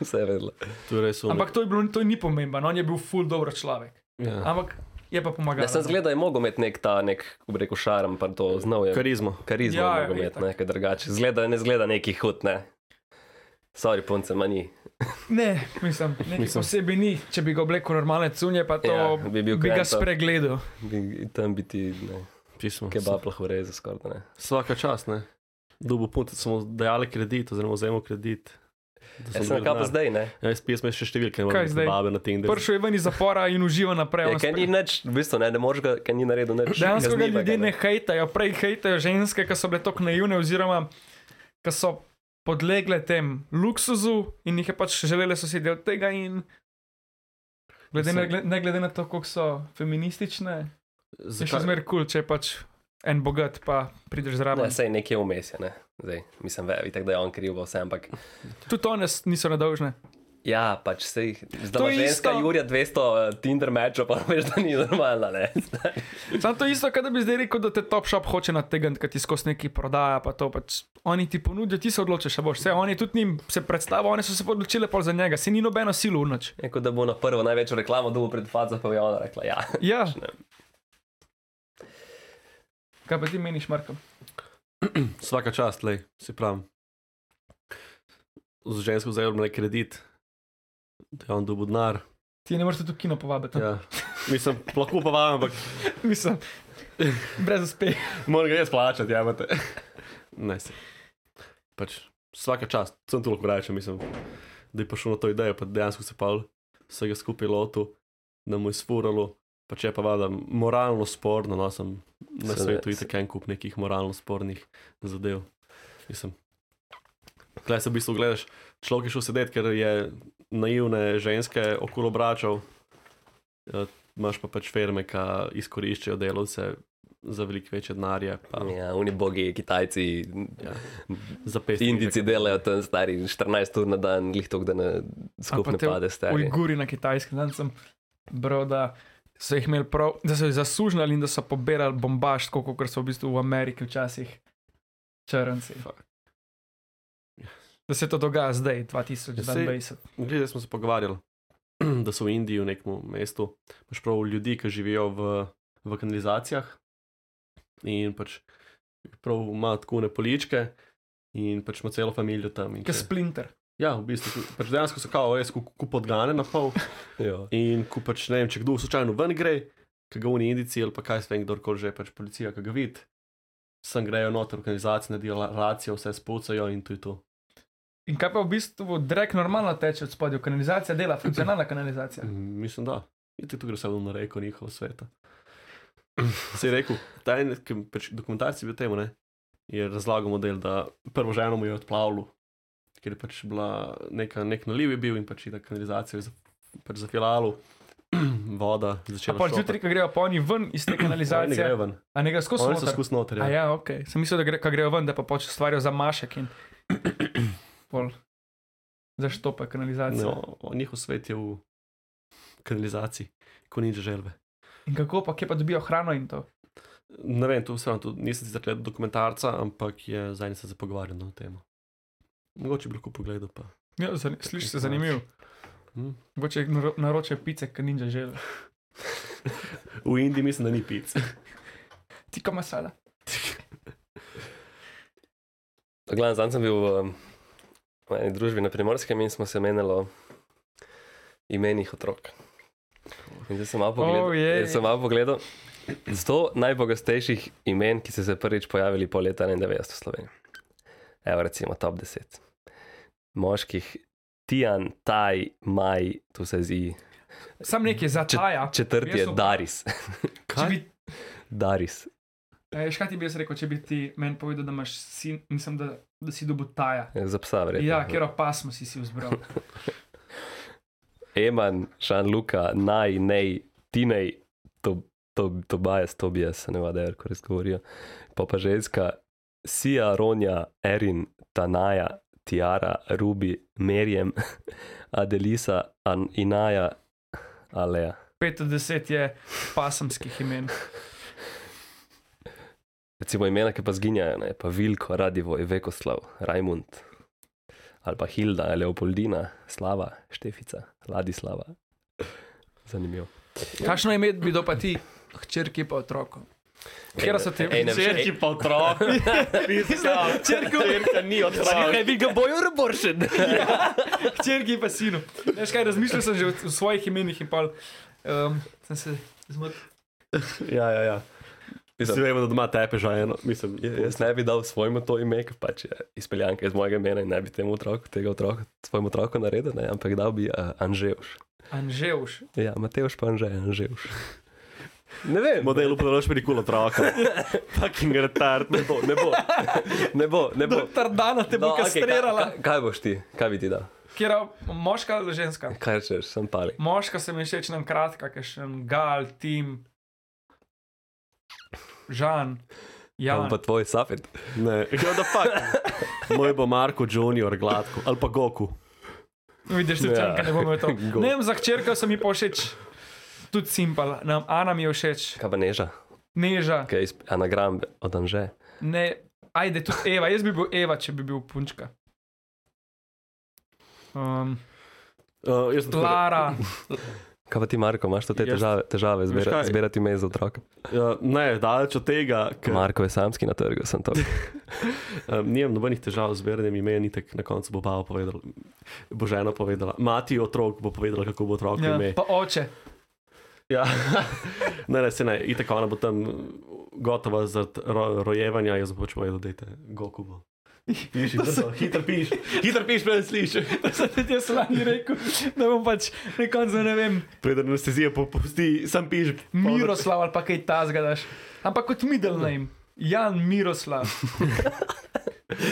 [SPEAKER 3] vse je vedela.
[SPEAKER 4] To
[SPEAKER 3] Torej
[SPEAKER 4] je res umno.
[SPEAKER 5] Ampak to, je bilo, to ni pomembno, on je bil full dobro človek.
[SPEAKER 4] Ja.
[SPEAKER 5] Ampak je pa pomagal.
[SPEAKER 3] Ne, sem zgleda, da je mogel imeti nek ta, nek, kako bi rekel, šarm, pa to znal je.
[SPEAKER 4] Karizmo.
[SPEAKER 3] Karizmo
[SPEAKER 5] Ja,
[SPEAKER 3] ja, je mogel imeti,
[SPEAKER 5] itak.
[SPEAKER 3] nekaj drugače. Zgleda, ne zgleda neki hud, ne. Sorry, punce, manj.
[SPEAKER 5] Ne, mislim,
[SPEAKER 4] Mislim.
[SPEAKER 5] mislim. osebi ni, če bi ga oblekel normalne cunje, pa to
[SPEAKER 3] Ja,
[SPEAKER 5] ja,
[SPEAKER 3] bi
[SPEAKER 5] bi,
[SPEAKER 3] bil
[SPEAKER 5] bi ga
[SPEAKER 3] krenta.
[SPEAKER 5] spregledal.
[SPEAKER 3] Tam bi ti, ne,
[SPEAKER 4] Pismo.
[SPEAKER 3] kebab lahko reze skoraj, da ne.
[SPEAKER 4] Vsaka čas, ne. Dubo punce smo dajali kredit, oziroma vzemo kredit. da so
[SPEAKER 3] Jaz sem na
[SPEAKER 4] dobili
[SPEAKER 3] kapu
[SPEAKER 4] denar.
[SPEAKER 3] zdaj, ne.
[SPEAKER 4] Ja, jaz pismo še številke, ne
[SPEAKER 5] Kaj zdaj?
[SPEAKER 4] morem babe na tem, da
[SPEAKER 5] Pršel je ven iz zapora in uživa naprej.
[SPEAKER 3] Ja,
[SPEAKER 5] on
[SPEAKER 3] ker ni
[SPEAKER 5] spre-
[SPEAKER 3] nič, v bistvu ne, ne moreš ga, ker ni naredil nič.
[SPEAKER 5] Dejansko ga
[SPEAKER 3] kaznivega,
[SPEAKER 5] ljudje ne hejtajo, prej hejtajo ženske, ki so bile tako naivne, oziroma ki so podlegle tem luksuzu in jih je pač želeli sosedi od tega. In... Glede na, glede, ne glede na to, kako so feministične, je še
[SPEAKER 4] Zakaj?
[SPEAKER 5] zmeraj kul, cool, če je pač en bogat, pa prideš zraven.
[SPEAKER 3] Ne, sej nekje vmes je, ne. Zdaj, mislim, ve, itak, da je on kriv, pa vse, ampak
[SPEAKER 5] Tudi one s- niso nedolžne.
[SPEAKER 3] Ja, pač se jih
[SPEAKER 5] To
[SPEAKER 3] zdaj
[SPEAKER 5] je
[SPEAKER 3] ženska
[SPEAKER 5] isto.
[SPEAKER 3] Jurija 200 eh, Tinder meča, pa veš, da ni normalna, ne.
[SPEAKER 5] Sam to je isto, kot da bi zdaj rekel, da te top shop hoče nategniti, ker ti skozi neki prodaja, pa to pač oni ti ponudijo, ti se odločiš, a boš. Vse oni tudi njim se predstavijo, one so se pa odločile pol za njega, se ni nobeno silo v noč.
[SPEAKER 3] Neko, da bo na No, prvo največjo reklamo dobil pred faco, pa je ona rekla, ja.
[SPEAKER 5] Ja.
[SPEAKER 3] ne.
[SPEAKER 5] Kaj pa ti meniš, Marko?
[SPEAKER 4] Vsaka čas, lej, si pravim. Z žensko vzajemno je kredit, da je on dobil denar.
[SPEAKER 5] Ti je ne moreš tudi v kino povabiti. Ja.
[SPEAKER 4] Ja. Mislim, lahko pa vam, ampak
[SPEAKER 5] Mislim, brez uspeha.
[SPEAKER 4] moram ga jaz plačati, ja, imate. Ne, se. Pač, vsaka čas, sem tu lahko rečem, mislim, da je prišel na to idejo, pa dejansko se pa vsega skupaj lotil, da mu je sfuralo. Pa če je pa vada moralno sporno, no sem na
[SPEAKER 3] Seveda,
[SPEAKER 4] svetu in
[SPEAKER 3] se-
[SPEAKER 4] tako en kup nekih moralno spornih zadev. Mislim, Kaj se v bistvu gledaš? Človek je šel sedeti, ker je naivne ženske okolo obračal, Ja, imaš pa pač firme, ki izkoriščajo delavce za veliko večje denarje, pa
[SPEAKER 3] Ja, oni bogi, Kitajci,
[SPEAKER 4] ja, za pet.
[SPEAKER 3] Indici delajo tam stari 14 ur na dan, glih tok, da ne skupaj ne pade stari.
[SPEAKER 5] Ujguri na kitajskem, tam sem bral, da so jih imeli prav, da so jih zasužnjali in da so pobirali bombaž, tako kot so v bistvu v Ameriki včasih črnci.
[SPEAKER 4] Fuck.
[SPEAKER 5] Da se to dogaja zdaj, 2022.
[SPEAKER 4] Glede, smo se pogovarjali, da so v Indiji v nekem mestu, imaš prav ljudi, ki živijo v, v kanalizacijah in pač prav ima tako ne poličke in pač ima celo familijo tam. in
[SPEAKER 5] Kaj
[SPEAKER 4] če-
[SPEAKER 5] splinter.
[SPEAKER 4] Ja, v bistvu, pač dejansko so kao, res kup ku podgane na pol.
[SPEAKER 3] Ja.
[SPEAKER 4] In ko pač ne vem, če kdo slučajno ven gre, ki ga oni indici ali pa kaj sven, kdorkoli že, pač policija, ki ga vidi, sem grejo noter, organizacije naredijo la- racijo, vse spucajo in to je to.
[SPEAKER 5] In kaj pa v bistvu drek normalno teče od spodaj, kanalizacija dela, funkcionalna kanalizacija.
[SPEAKER 4] Mm, Mislim, da. Vidite, tu gre samo na reko njihovega sveta. Se je rekel, ta en ki- pač dokumentarci bi o tem, ne, je razlagal model, da prvo ženo mu je odplavilo, ker je pač bila neka, nek naliv je bil in pač je ta kanalizacija je za, pač zafilalo, voda
[SPEAKER 5] Če
[SPEAKER 4] začela.
[SPEAKER 5] pa
[SPEAKER 4] šopati.
[SPEAKER 5] zjutraj, ko grejo pa oni ven iz te
[SPEAKER 4] Oni grejo
[SPEAKER 5] kanalizacije,
[SPEAKER 4] ven.
[SPEAKER 5] a ne gre skozi
[SPEAKER 4] Oni so
[SPEAKER 5] noter?
[SPEAKER 4] skozi noter.
[SPEAKER 5] A
[SPEAKER 4] Ja.
[SPEAKER 5] ja, ok. Sem mislil, da gre, ko grejo ven, da pa počne stvarjo za mašek in pol. Zaštopa kanalizacijo.
[SPEAKER 4] No, o- njihov svet je v kanalizaciji, ko nič želve.
[SPEAKER 5] In kako pa, kje pa dobijo hrano in to?
[SPEAKER 4] Ne vem, tu sem, tu nisem sicer gledal dokumentarca, ampak je zadnji se pogovarjal na to temo. Mogoče bi lahko pogledal, pa
[SPEAKER 5] Ja, zani, sliši se zanimivo.
[SPEAKER 4] Hm.
[SPEAKER 5] Mogoče naro- naročijo pice, ki ninja žele.
[SPEAKER 4] V Indiji mislim, da ni pic.
[SPEAKER 5] Tika masala.
[SPEAKER 3] Glavno, zdaj sem bil v, um, v eni družbi na primorskem in smo se menili o imenih otrok. In zdaj sem malo pogledal.
[SPEAKER 5] Oh, jej.
[SPEAKER 3] jaz sem malo pogledal 100 najpogostejših imen, ki so se prvič pojavili po leta 91 v Sloveniji. Evo, recimo top 10. Moških, Tijan, Taj, Maj, tu se zdi.
[SPEAKER 5] Sam nekaj zataja.
[SPEAKER 3] Četrti je
[SPEAKER 5] Jaz so-
[SPEAKER 3] Daris.
[SPEAKER 5] Če bi,
[SPEAKER 3] Daris.
[SPEAKER 5] e, škaj ti bi jaz rekel, če bi ti meni povedal, da imaš sin, mislim, da, da si dobil taja.
[SPEAKER 3] Za psa, verjetno.
[SPEAKER 5] Ja, ker opasmo si si vzbral.
[SPEAKER 3] Eman, Žanluka, Naj, Nej, Tinej, to, to, Tobias, Tobias, ne vem, kako res govorijo. Pa pa ženska, Sija, Ronja, Erin, Tanaja, Tiara, Rubi, Merjem, Adelisa, An, Inaja, Alea.
[SPEAKER 5] 50 je pasemskih imen.
[SPEAKER 3] Recimo imena, ki pa zginjajo, ne? pa Vilko, Radivo, Vekoslav, Rajmund, ali pa Hilda, Leopoldina, Slava, Štefica, Ladislava. Zanimivo.
[SPEAKER 5] Kakšno ime bi do pa ti, hčerki pa otroku? Kjer so te
[SPEAKER 3] Ej, ne, ej,
[SPEAKER 4] pa otrok, Ja.
[SPEAKER 5] Hčerki
[SPEAKER 4] ni otrok.
[SPEAKER 3] Ne, vi ga bojo reboršen.
[SPEAKER 5] pa sinu. Veš kaj, razmišljal sem že o- o svojih imenih in pol. Um, sem se zmotil.
[SPEAKER 4] Ja, ja, ja. Mislim,
[SPEAKER 3] Mislim-
[SPEAKER 4] vemo, da doma tepe že eno. No, Mislim,
[SPEAKER 3] Jaz ne bi dal svojemu to ime, ker pač je izpeljanka iz mojega imena in ne bi temu otroku, tega otroka, svojemu otroku naredil, ne? ampak dal bi uh, Anževš.
[SPEAKER 5] Anžeuš.
[SPEAKER 3] Ja, Mateoš pa Anže, Anževš. Ne vem,
[SPEAKER 4] model upravljaš pri kul otroka. Fucking retard.
[SPEAKER 3] ne bo, ne bo, ne bo. Ne bo.
[SPEAKER 5] Doktor Dana te bo
[SPEAKER 3] No. okej,
[SPEAKER 5] kastrirala.
[SPEAKER 3] Kaj, kaj, kaj boš ti, kaj bi ti dal?
[SPEAKER 5] Kjera, moška ali ženska?
[SPEAKER 3] Kaj rečeš, sem pali.
[SPEAKER 5] Moška se mi všeč nam kratka, ker še en gal, tim, žan,
[SPEAKER 3] Ja,
[SPEAKER 5] jan.
[SPEAKER 3] pa tvoj safet.
[SPEAKER 4] Ne, ja, da fuck. Moj bo Marko Junior gladko, ali pa Goku.
[SPEAKER 5] No, Vidiš, da
[SPEAKER 3] Ja.
[SPEAKER 5] čakaj, ne bomo to.
[SPEAKER 3] Go.
[SPEAKER 5] Ne vem, za hčerko se mi pa všeč. Tudi simpel, nam Ana mi je všeč,
[SPEAKER 3] Kaj pa neža,
[SPEAKER 5] neža,
[SPEAKER 3] kaj je iz- anagram od Anže.
[SPEAKER 5] ne, ajde, tudi Eva, jaz bi bil Eva, če bi bil punčka. Um,
[SPEAKER 4] Uh, jaz sem tako-
[SPEAKER 5] Lara,
[SPEAKER 3] Kaj pa ti, Marko, imaš to te
[SPEAKER 4] Jaz-
[SPEAKER 3] težave, težave zbira,
[SPEAKER 4] kaj?
[SPEAKER 3] zbirati ime za otroka?
[SPEAKER 4] Ja, ne, daleč od tega, ker
[SPEAKER 3] Marko je samski na trgu, sem to.
[SPEAKER 4] um, nimam nobenih težav z zbiranjem imen, tako na koncu bo baba povedala, bo žena povedala, mati otrok bo povedala, kako bo otrok
[SPEAKER 5] ja,
[SPEAKER 4] ime.
[SPEAKER 5] pa oče.
[SPEAKER 4] Ja, ne, ne, se ne, itek ona bo tam gotova zaradi ro rojevanja, jaz bo pač povedal, da je goku bo. Piši, brzo, hitro piš, hitro piš, preden slišiš.
[SPEAKER 5] To sem tudi jaz lani rekel, da bom pač na koncu ne vem,
[SPEAKER 4] Preden anestezija popusti, sam piš.
[SPEAKER 5] Miroslav ali pa kaj ta zgadaš. Ampak kot middle name, Jan Miroslav.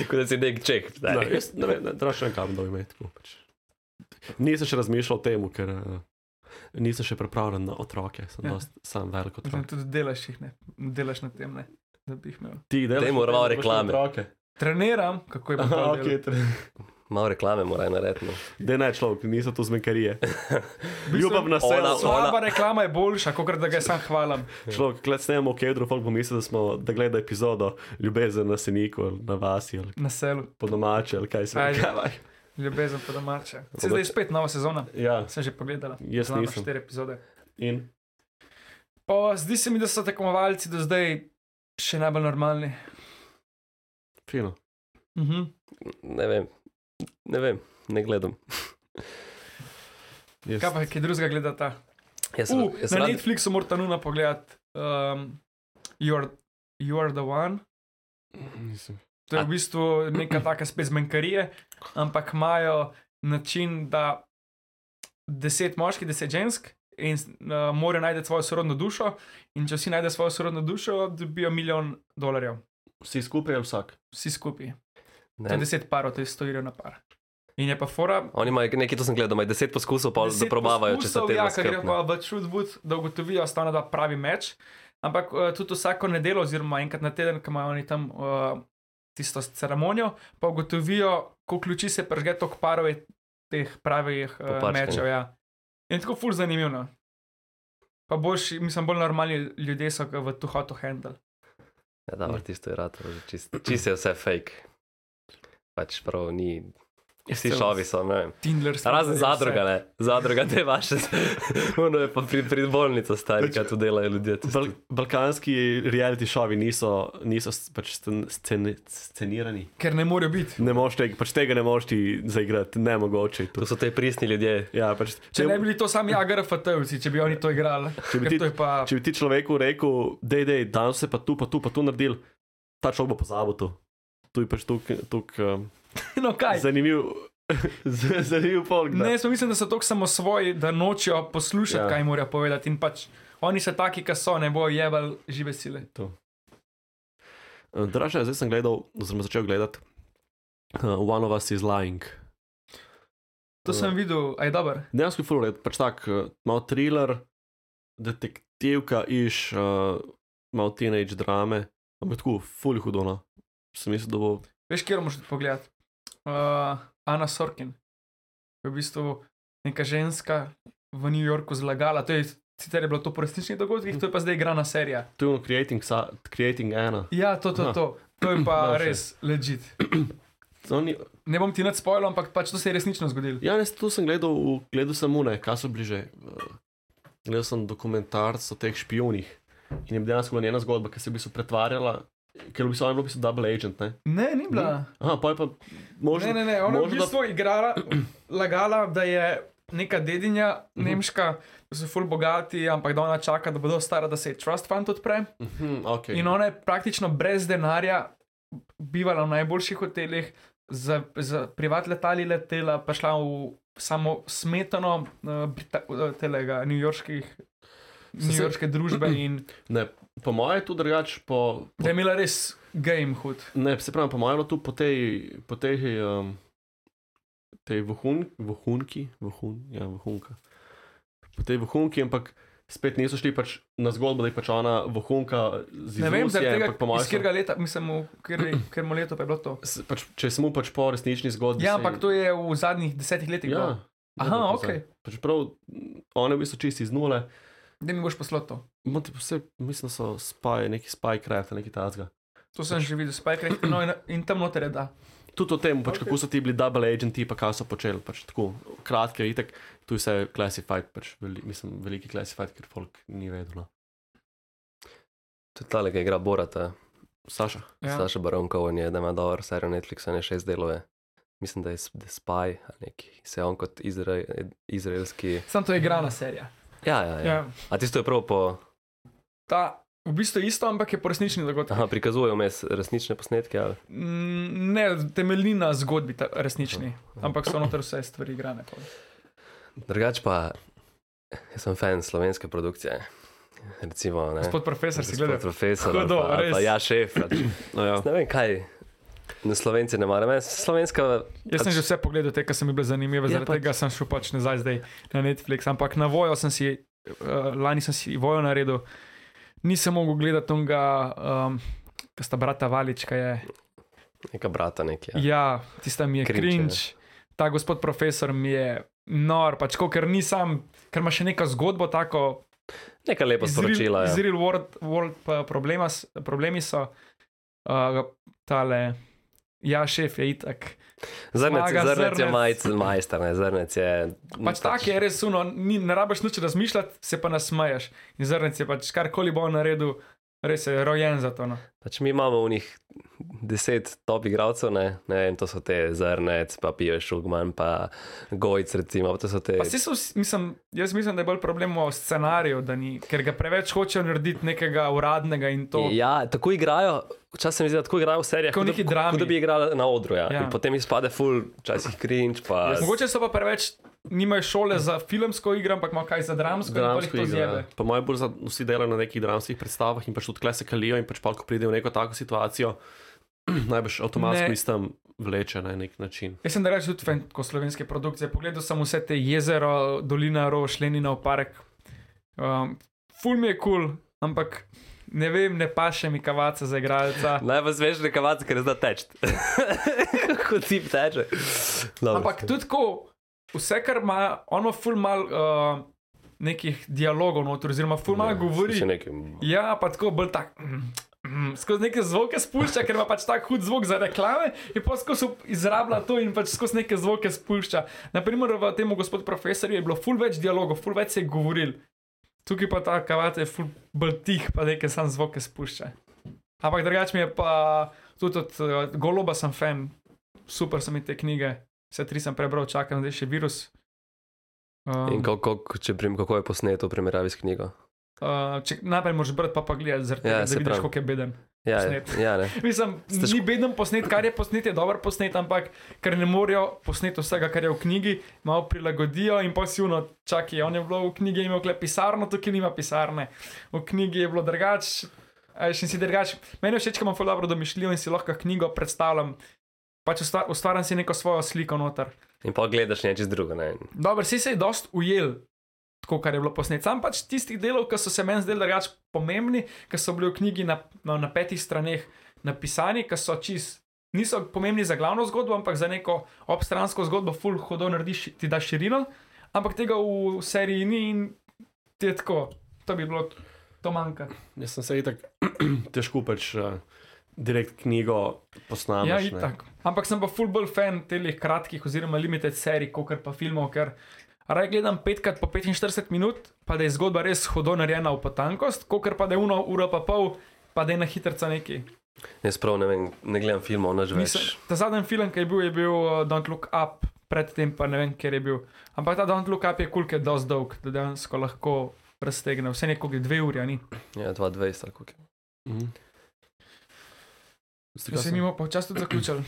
[SPEAKER 3] Kot da si nek ček.
[SPEAKER 4] Ne, jaz ne vem, drašen kam da ime tako. Pač. Nisem še razmišljal o tem, ker uh, nisem še pripravljen na otroke, sem
[SPEAKER 5] Ja.
[SPEAKER 4] ja. dost, sam velik
[SPEAKER 5] Mislim,
[SPEAKER 4] otrok.
[SPEAKER 5] Tudi delaš jih ne, delaš na tem ne, da bi jih imel.
[SPEAKER 4] Ti delaš
[SPEAKER 3] Temu
[SPEAKER 4] na tem,
[SPEAKER 3] ravno
[SPEAKER 4] da boš imel
[SPEAKER 3] reklame.
[SPEAKER 4] Otroke.
[SPEAKER 5] Treniram, kako je bilo.
[SPEAKER 4] Aha, ok, tre-
[SPEAKER 3] Malo reklame morajo narediti. no.
[SPEAKER 4] Daj ne človek, niso to zmenkarije.
[SPEAKER 5] Mislim,
[SPEAKER 4] Ljubov na
[SPEAKER 3] ona-
[SPEAKER 4] selo.
[SPEAKER 5] Slaba reklama je boljša, kot da ga je sam hvalam.
[SPEAKER 4] Človek, klec ne bomo kedro, folk bo mislil, da, smo, da gleda epizodo ljubezen na seniku ali na vasi ali
[SPEAKER 5] Na selu,
[SPEAKER 4] po domače ali kaj se
[SPEAKER 5] Ajde.
[SPEAKER 4] reče.
[SPEAKER 5] ljubezen po domače. Se zdaj je spet nova sezona,
[SPEAKER 4] Ja,
[SPEAKER 5] sem že pogledala.
[SPEAKER 4] Jaz
[SPEAKER 5] Znam
[SPEAKER 4] nisem.
[SPEAKER 5] štiri epizode.
[SPEAKER 4] in
[SPEAKER 5] Pa zdi se mi, da so tekmovalci do zdaj še najbolj normalni.
[SPEAKER 4] fino.
[SPEAKER 5] Mhm.
[SPEAKER 3] Ne vem, ne vem, ne gledam.
[SPEAKER 4] Jaz,
[SPEAKER 5] Kaj pa, ki drugega gledata?
[SPEAKER 3] Jaz sem,
[SPEAKER 5] Uh,
[SPEAKER 3] jaz sem
[SPEAKER 5] na
[SPEAKER 3] rad,
[SPEAKER 5] Netflixu morate nujno pogledati um, you, are, you Are the One
[SPEAKER 4] Nisem.
[SPEAKER 5] To je v bistvu neka taka spet zmenkarija, ampak imajo način, da deset moških, deset žensk in uh, morajo najti svojo sorodno dušo. In če vsi najdejo svojo sorodno dušo, dobijo milijon dolarjev,
[SPEAKER 4] Vsi skupaj ali vsak?
[SPEAKER 5] vsi skupaj. To
[SPEAKER 3] Ne,
[SPEAKER 5] je deset parov, to je 100 jurjev na par. In je pa fora.
[SPEAKER 3] Oni imajo nekaj, to sem gledal, imajo 10 poskusov, pa
[SPEAKER 5] deset
[SPEAKER 3] zaprobavajo, če se
[SPEAKER 5] poskusov,
[SPEAKER 3] te
[SPEAKER 5] Ja, ker gre
[SPEAKER 3] ne.
[SPEAKER 5] pa v Čudwood, da ugotovijo, da sta pravi meč. Ampak uh, tudi vsako nedeljo, oziroma enkrat na teden, ko imajo oni tam uh, tisto ceremonijo, pa ugotovijo, koliko luči se prežge tok parov je teh pravih uh,
[SPEAKER 3] Popačkanih.
[SPEAKER 5] mečev. Ja. In tako ful zanimivo. no. Pa boš, mislim, bolj normalni ljudje so ke v tu hotu handle.
[SPEAKER 3] Ja, dobro, tisto je rad, čisto čist je vse fake. Pač prav ni. Vsi
[SPEAKER 5] Vse
[SPEAKER 3] šovi so, ne vem.
[SPEAKER 5] Tindler.
[SPEAKER 3] Razen zadruga, ne. Zadruga te vaše. Ono je pa pri, pri bolnici
[SPEAKER 5] Pač
[SPEAKER 3] stari, kaj tu delajo ljudje. tisto.
[SPEAKER 4] Bal balkanski reality šovi niso, niso s- pač scen scen scenirani.
[SPEAKER 5] Ker ne more biti.
[SPEAKER 4] Ne moš tega, pač tega ne moš ti zaigrati, ne mogoče. je to.
[SPEAKER 3] To so te pristni ljudje.
[SPEAKER 4] Ja, pač,
[SPEAKER 5] Če ne bi bili to sami AGRFT-ovci, če bi oni to igrali.
[SPEAKER 4] če, bi
[SPEAKER 5] Ker
[SPEAKER 4] ti,
[SPEAKER 5] to je pa
[SPEAKER 4] če bi ti človeku rekel, da je danes se pa tu, pa tu, pa tu naredil, ta človek bo pozabil to. Tu je pač tuk um,
[SPEAKER 5] no kaj.
[SPEAKER 4] zanimiv, z- zanimiv polk.
[SPEAKER 5] Ne, jaz pa mislim, da so tako samo svoji, da nočejo poslušati, ja.
[SPEAKER 4] Ja.
[SPEAKER 5] kaj morajo povedati. In pač oni so taki, ki so, ne bojo jebali žive sile.
[SPEAKER 4] Dražen, zdaj sem gledal, oziroma začel gledati uh, One of Us is Lying.
[SPEAKER 5] To sem videl, aj dober.
[SPEAKER 4] Dejansko je fulor, pač tak, eh, malo thriller, detektivka iš, uh, malo teenage drame, ampak tako fulj hudo. no. Sem mislil, da bo.
[SPEAKER 5] Veš, kjer moš pogledati? Uh, Ana Sorkin. Je v bistvu neka ženska v New Yorku zlagala. To je, sicer je bilo to po resničnih dogodkih, to je pa zdaj igrana serija.
[SPEAKER 4] To je ono creating, sa, creating ena.
[SPEAKER 5] Ja, to, to,
[SPEAKER 4] Aha.
[SPEAKER 5] to. To je pa
[SPEAKER 4] Dobro, še.
[SPEAKER 5] res legit.
[SPEAKER 4] Oni,
[SPEAKER 5] Ne bom ti nad spojil, ampak pač to se je resnično zgodilo.
[SPEAKER 4] ja, ne, to sem gledal, v- gledal sem une, kaj so bliže. Uh, gledal sem dokumentarc o teh špionih in je dejansko bila njena zgodba, ki se je v bistvu pretvarjala, ker v bistvu ona je bila v bistvu double agent. Ne?
[SPEAKER 5] Ne, ni bila.
[SPEAKER 4] Aha, pa je pa možno.
[SPEAKER 5] Ne, ne, ne, ona je v
[SPEAKER 4] možno, da-
[SPEAKER 5] bistvu igrala, lagala, da je neka dedinja,
[SPEAKER 4] Mhm.
[SPEAKER 5] nemška, da so ful bogati, ampak da ona čaka, da bo dovolj stara, da se je trust fund odpre.
[SPEAKER 4] Mhm, okay.
[SPEAKER 5] In ona je praktično brez denarja bivala v najboljših hotelih, za, za privat letali letela, pa šla v samo smetano uh, Brita, uh, telega, newyorških.
[SPEAKER 4] Se- se-
[SPEAKER 5] Newyorške družbe in
[SPEAKER 4] Ne, po mojem je tu drugače, po, po,
[SPEAKER 5] da je imela res game hud.
[SPEAKER 4] ne, se pravi, po mojem je bilo tu po tej, po tej, um, tej vohun, vohunki, vohun, ja, vohunka. Po tej vohunki, ampak spet niso šli pač na zgodbo, da je pač ona vohunka z
[SPEAKER 5] Ne vem, zaradi
[SPEAKER 4] izuzje,
[SPEAKER 5] tega,
[SPEAKER 4] ampak po mojem
[SPEAKER 5] iz katerega leta, mislim, v katerem katerem letu pa je bilo to.
[SPEAKER 4] so- s- Pač, če smo pač po resnični zgodbi.
[SPEAKER 5] Ja, ampak to je v zadnjih desetih letih. bilo.
[SPEAKER 4] Ja,
[SPEAKER 5] Aha,
[SPEAKER 4] dobro,
[SPEAKER 5] ok.
[SPEAKER 4] zdaj. Pač prav, one v bistvu čisti iz nule.
[SPEAKER 5] Da mi boš poslal to.
[SPEAKER 4] Imate pa Vse, mislim, da so spaj, neki spajkraft, nekaj tazga.
[SPEAKER 5] To sem že videl, spajkrat no, in, in tam noter je da.
[SPEAKER 4] Tudi o tem, pač, okay. kako so ti bili double agenti, pa kaj so počeli. Pač, tako, kratke, itek, tu je vse classified, pač, veli, mislim, veliki classified, ker folk ni no. vedelo.
[SPEAKER 3] To je tale, ki igra Borata,
[SPEAKER 4] Saša,
[SPEAKER 5] Ja.
[SPEAKER 3] ja. Saša Baronka, on je, da ima dobro serijo Netflixa, ne šest delov. je. Mislim, da je s- The Spy ali neki, se on kot izra, izraelski.
[SPEAKER 5] Sam to je igrana serija.
[SPEAKER 3] Ja, ja, ja.
[SPEAKER 5] Ja.
[SPEAKER 3] A tisto je prav po.
[SPEAKER 5] Ta v bistvu je isto, ampak je po resnični dogodek.
[SPEAKER 3] Aha, prikazujejo mes resnične posnetke. Ali?
[SPEAKER 5] Mm, Ne temelji na zgodbi ta, resnični, ampak so noter vse stvari igrane. pol.
[SPEAKER 3] Ja. Drugač pa, jaz sem fan slovenske produkcije. Recimo, ne.
[SPEAKER 5] Gospod profesor si
[SPEAKER 3] Gospod
[SPEAKER 5] gledal.
[SPEAKER 3] Profesor,
[SPEAKER 5] Hudo,
[SPEAKER 3] ali pa, ali pa
[SPEAKER 5] res.
[SPEAKER 3] ja, šef. pač.
[SPEAKER 4] no, ja.
[SPEAKER 3] Ne vem kaj. Na Slovenci ne maram, jaz slovenska.
[SPEAKER 5] Jaz sem že vse pogledal, te, ki so mi bile
[SPEAKER 3] Ja,
[SPEAKER 5] zanimive, zaradi
[SPEAKER 3] pač.
[SPEAKER 5] tega sem šel pač nazaj zdaj na Netflix. Ampak na vojo sem si, uh, lani sem si vojo naredil, nisem mogel gledati tega, um, ki sta brata Valička je.
[SPEAKER 3] Neka brata nekje. Ja.
[SPEAKER 5] Ja, tista mi je
[SPEAKER 3] Cringe,
[SPEAKER 5] krinč. Ta gospod profesor mi je nor, pač ko, ker ni sam, ker ima še neko zgodbo, tako
[SPEAKER 3] Neka lepa
[SPEAKER 5] iz real-
[SPEAKER 3] sporočila.
[SPEAKER 5] Iz
[SPEAKER 3] Ja.
[SPEAKER 5] real world, world pa problema, s- problemi so, uh, tale, ja, šef je itak.
[SPEAKER 3] Zrnec,
[SPEAKER 5] Zmaga
[SPEAKER 3] zrnec, zrnec je
[SPEAKER 5] Zrnec.
[SPEAKER 3] majc, majster, ne? zrnec je. no,
[SPEAKER 5] Pač tak je res uno, ni, ne rabiš nič razmišljati, se pa nasmeješ. In zrnec je pač karkoli bo on naredil, Res je, rojen za to. No.
[SPEAKER 3] Pač mi imamo v njih deset top igralcev, ne, ne, in to so te zrnec, pa pijo šugman, pa gojc, recimo, to so te.
[SPEAKER 5] Pa saj so, vsi- mislim, jaz mislim, da je bolj problem v scenariju, da ni, ker ga preveč hočejo narediti nekega uradnega in to.
[SPEAKER 3] Ja, tako igrajo, včasih se mi zdi, da tako igrajo v serijah,
[SPEAKER 5] Kot v neki
[SPEAKER 3] da,
[SPEAKER 5] drami.
[SPEAKER 3] kot da bi igrali na odru. Ja.
[SPEAKER 5] Ja.
[SPEAKER 3] Ja. Potem izpade full, včasih cringe. Pa...
[SPEAKER 5] Mogoče so pa preveč, nimajo šole za filmsko igro, ampak imajo kaj za dramsko, dramsko ja.
[SPEAKER 4] Dramsko
[SPEAKER 5] in pa jih to zjebe.
[SPEAKER 4] igro. ja. Po mojem, bolj za- vsi delajo na nekih dramskih predstavah in pač tudi klese kalijo, in pač pa, ko pridejo v neko tako situacijo, najbrž avtomatsko
[SPEAKER 5] Ne.
[SPEAKER 4] iz tam vleče na nek način.
[SPEAKER 5] Jaz sem da rečem tudi fan ko slovenske produkcije. Pogledal sem vse te jezero, dolina Roš, Leninov park. Um, ful mi je kul, cool, ampak ne vem, ne paše mi kavaca za igralca.
[SPEAKER 3] Naj vas veš, da kavac, ker zna teč. Kako ti teče. Dobro.
[SPEAKER 5] Ampak tudi tako, vse kar ima, ono ful mal uh, nekih dialogov noter, oziroma ful mal govori.
[SPEAKER 3] Še nekaj.
[SPEAKER 5] Ja, pa tako bolj tak. mm, mm, Skozi neke zvoke spušča, ker ima pač tako hud zvok za reklame, in pa skozi up- izrablja to in pač skozi neke zvoke spušča. Naprimer, v tem gospod profesorju je bilo ful več dialogov, ful več se je govoril. Tukaj pa ta kavata je ful bolj tih, pa neke sam zvoke spušča. Ampak drugač mi je pa tudi od uh, goloba sem fan, super so mi te knjige, vse tri sem prebral, čakam zdaj še virus.
[SPEAKER 3] In
[SPEAKER 5] Um,
[SPEAKER 3] kako, če, prim- kako je posneto v primerjavi s knjigo?
[SPEAKER 5] uh, če, najprej moraš brati, pa pa gledati, zaradi
[SPEAKER 3] Ja,
[SPEAKER 5] tega, da
[SPEAKER 3] saj
[SPEAKER 5] vidiš,
[SPEAKER 3] pravim.
[SPEAKER 5] koliko je beden.
[SPEAKER 3] Ja,
[SPEAKER 5] Posnet.
[SPEAKER 3] ja, ne.
[SPEAKER 5] Mislim,
[SPEAKER 3] Ste šk-
[SPEAKER 5] ni beden posnet, kar je posnet, je dobro posnet, ampak ker ne morejo posneti vsega, kar je v knjigi, malo prilagodijo in pasivno čakajo. On je bilo v knjigi imel kle pisarno, tukaj nima pisarne. V knjigi je bilo drugače. Še si drugače. Meni je všeč, ko imam zelo dobro domišljijo in si lahko knjigo predstavljam. Pač usta- ustvarjam si neko svojo sliko noter.
[SPEAKER 3] In pa gledaš nečez drugo. Ne? In
[SPEAKER 5] Dobro, si se je dost ujel, tako kar je bilo posnet. Sam pač tistih delov, ki so se meni zdeli drugače pomembni, ki so bili v knjigi na, na, na petih straneh napisani, ki so čist. Niso pomembni za glavno zgodbo, ampak za neko obstransko zgodbo, full hodov narediš, ti da širino, ampak tega v seriji ni in ti je tako, to bi bilo, to manjka.
[SPEAKER 4] Jaz sem se itak težko pač uh, direkt knjigo posnameš.
[SPEAKER 5] Ja,
[SPEAKER 4] ne.
[SPEAKER 5] itak. Ampak sem pa full bolj fan telih kratkih oziroma limited serij, kot pa filmov, ker raje gledam petkrat po 45 minut, pa da je zgodba res hodo narejena v potankost, kot pa da je uno uro pa pol, pa da je na hitrca neki.
[SPEAKER 3] Jaz prav ne, vem, ne gledam filmov, naš
[SPEAKER 5] Mislim,
[SPEAKER 3] več.
[SPEAKER 5] ta zadnji film, ki je bil, je bil uh, Don't Look Up, predtem pa ne vem, kjer je bil. Ampak ta Don't Look Up je kul, ker je dosti dolg, da dejansko lahko raztegne, vse nekoga dve uri, a ni.
[SPEAKER 3] Ja, 220 ali koliko. je.
[SPEAKER 4] Mhm.
[SPEAKER 5] To
[SPEAKER 4] Zdaj,
[SPEAKER 5] se Ja, mi bo počasi tudi zaključil.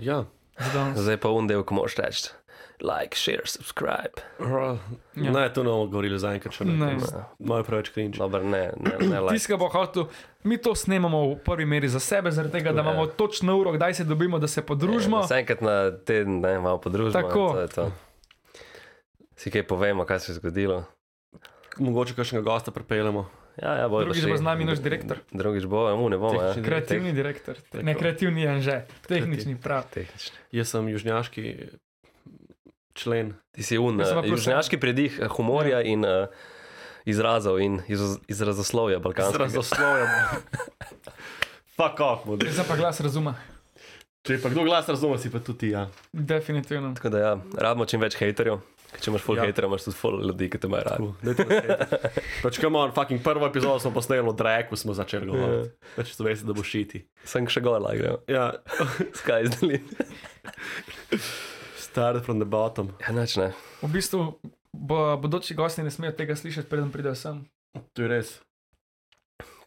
[SPEAKER 4] Ja,
[SPEAKER 5] za danes.
[SPEAKER 3] Zdaj pa un del, ko moraš reči. Like, share, subscribe.
[SPEAKER 4] ja.
[SPEAKER 5] Ja.
[SPEAKER 4] naj to ne bomo govorili za enkrat, če ne.
[SPEAKER 5] Ne.
[SPEAKER 4] Moje Malo je preveč cringe.
[SPEAKER 3] Dobro, ne, ne, ne like.
[SPEAKER 5] Tiska bo hotel, mi to snemamo v prvi meri za sebe, zaradi tega, da
[SPEAKER 3] Ja.
[SPEAKER 5] imamo točno uro, kdaj se dobimo, da se podružimo.
[SPEAKER 3] Vse enkrat na teden, ne, malo podružimo.
[SPEAKER 5] Tako.
[SPEAKER 3] in To je to. Si kaj povemo, kaj se je zgodilo.
[SPEAKER 4] Mogoče kakšnega gosta pripeljemo.
[SPEAKER 3] Ja, ja, bojo
[SPEAKER 5] Drugič
[SPEAKER 3] prišli.
[SPEAKER 5] bo z nami naš direktor.
[SPEAKER 3] Drugič bo, mu ne bomo. Ja.
[SPEAKER 4] Tehnični
[SPEAKER 5] Kreativni direktor,
[SPEAKER 4] Tako.
[SPEAKER 5] ne kreativni anže, tehnični prav.
[SPEAKER 3] Tehnični.
[SPEAKER 4] Jaz sem južnjaški člen.
[SPEAKER 3] Ti si un,
[SPEAKER 5] Jaz sem pa
[SPEAKER 3] eh,
[SPEAKER 5] prosim- Ja.
[SPEAKER 3] južnjaški predih eh, humorja in uh, izrazov in iz, izrazoslovja balkanskega.
[SPEAKER 4] Razoslovljen. Fuck off, modri.
[SPEAKER 5] Zdaj pa glas razuma,
[SPEAKER 4] Če pa kdo glas razume, si pa tudi ti, ja.
[SPEAKER 5] definitivno.
[SPEAKER 3] Tako da ja, rabimo čim več haterjev. ker Če imaš full
[SPEAKER 4] Ja.
[SPEAKER 3] ja. haterjev, imaš tudi full ljudi, ki te imajo radi.
[SPEAKER 4] Tako, dajte nas hejtati. Pač, come on, fucking prvo epizodo smo posneli od Reku, smo začeli govoriti. Pač, to veste, da bo šiti.
[SPEAKER 3] Sem še gor, lagam.
[SPEAKER 4] Ja,
[SPEAKER 3] Skaj zdeli.
[SPEAKER 4] start from the bottom.
[SPEAKER 3] Ja, nič ne.
[SPEAKER 5] V bistvu bo, bodoči gosti ne smejo tega slišati, preden pridejo sem.
[SPEAKER 4] To je res.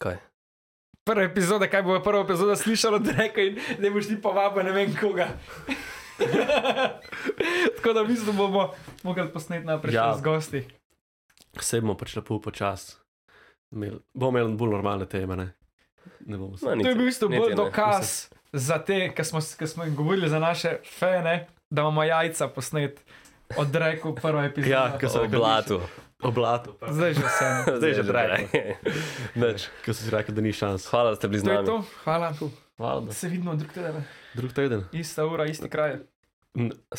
[SPEAKER 3] Kaj?
[SPEAKER 5] Prva epizoda, kaj bo prva epizoda slišala, da reka in da boš ti povabil ne vem koga. Tako da v bistvu bomo mogli posneti najprej
[SPEAKER 4] Ja.
[SPEAKER 5] ja. z gosti.
[SPEAKER 4] Vse bomo pač lepo počasi. imeli- Bomo imeli bolj normalne teme, ne? Ne bomo se.
[SPEAKER 3] No, niti-
[SPEAKER 5] To je bil v bistvu
[SPEAKER 3] niti
[SPEAKER 5] bolj
[SPEAKER 3] ne.
[SPEAKER 5] dokaz za te, ki smo, ki smo jim govorili za naše fene, da imamo jajca posnet od Reku prva epizoda.
[SPEAKER 4] Ja, ker
[SPEAKER 3] Mislim,
[SPEAKER 4] so
[SPEAKER 3] O blatu.
[SPEAKER 4] Oblatu. pa.
[SPEAKER 5] Zdaj že vse.
[SPEAKER 4] Zdaj že drag.
[SPEAKER 3] Nič.
[SPEAKER 4] Ker so si rekli, da ni šans.
[SPEAKER 3] Hvala, da ste bili z
[SPEAKER 5] To je
[SPEAKER 3] nami.
[SPEAKER 5] to, hvala.
[SPEAKER 4] Hvala.
[SPEAKER 5] Se vidimo drug teden.
[SPEAKER 4] Drug teden.
[SPEAKER 5] Ista ura, isti kraj.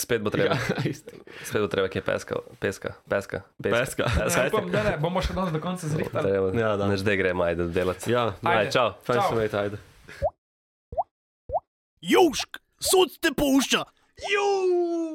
[SPEAKER 3] Spet bo
[SPEAKER 5] Ja.
[SPEAKER 3] treba,
[SPEAKER 4] isto.
[SPEAKER 3] spet bo treba, ki je peska, peska, peska, peska.
[SPEAKER 4] Peska.
[SPEAKER 5] Ne, upam, da ne, bomo še danes do konca zrihtali.
[SPEAKER 4] Ja, da.
[SPEAKER 3] Neč da gre, majde, delati.
[SPEAKER 4] Ja,
[SPEAKER 5] Ajde.
[SPEAKER 3] Aj, čau.
[SPEAKER 4] fajn
[SPEAKER 5] Čau.
[SPEAKER 4] se vejte, ajde.
[SPEAKER 1] Južk, sod te pušča. Juuu.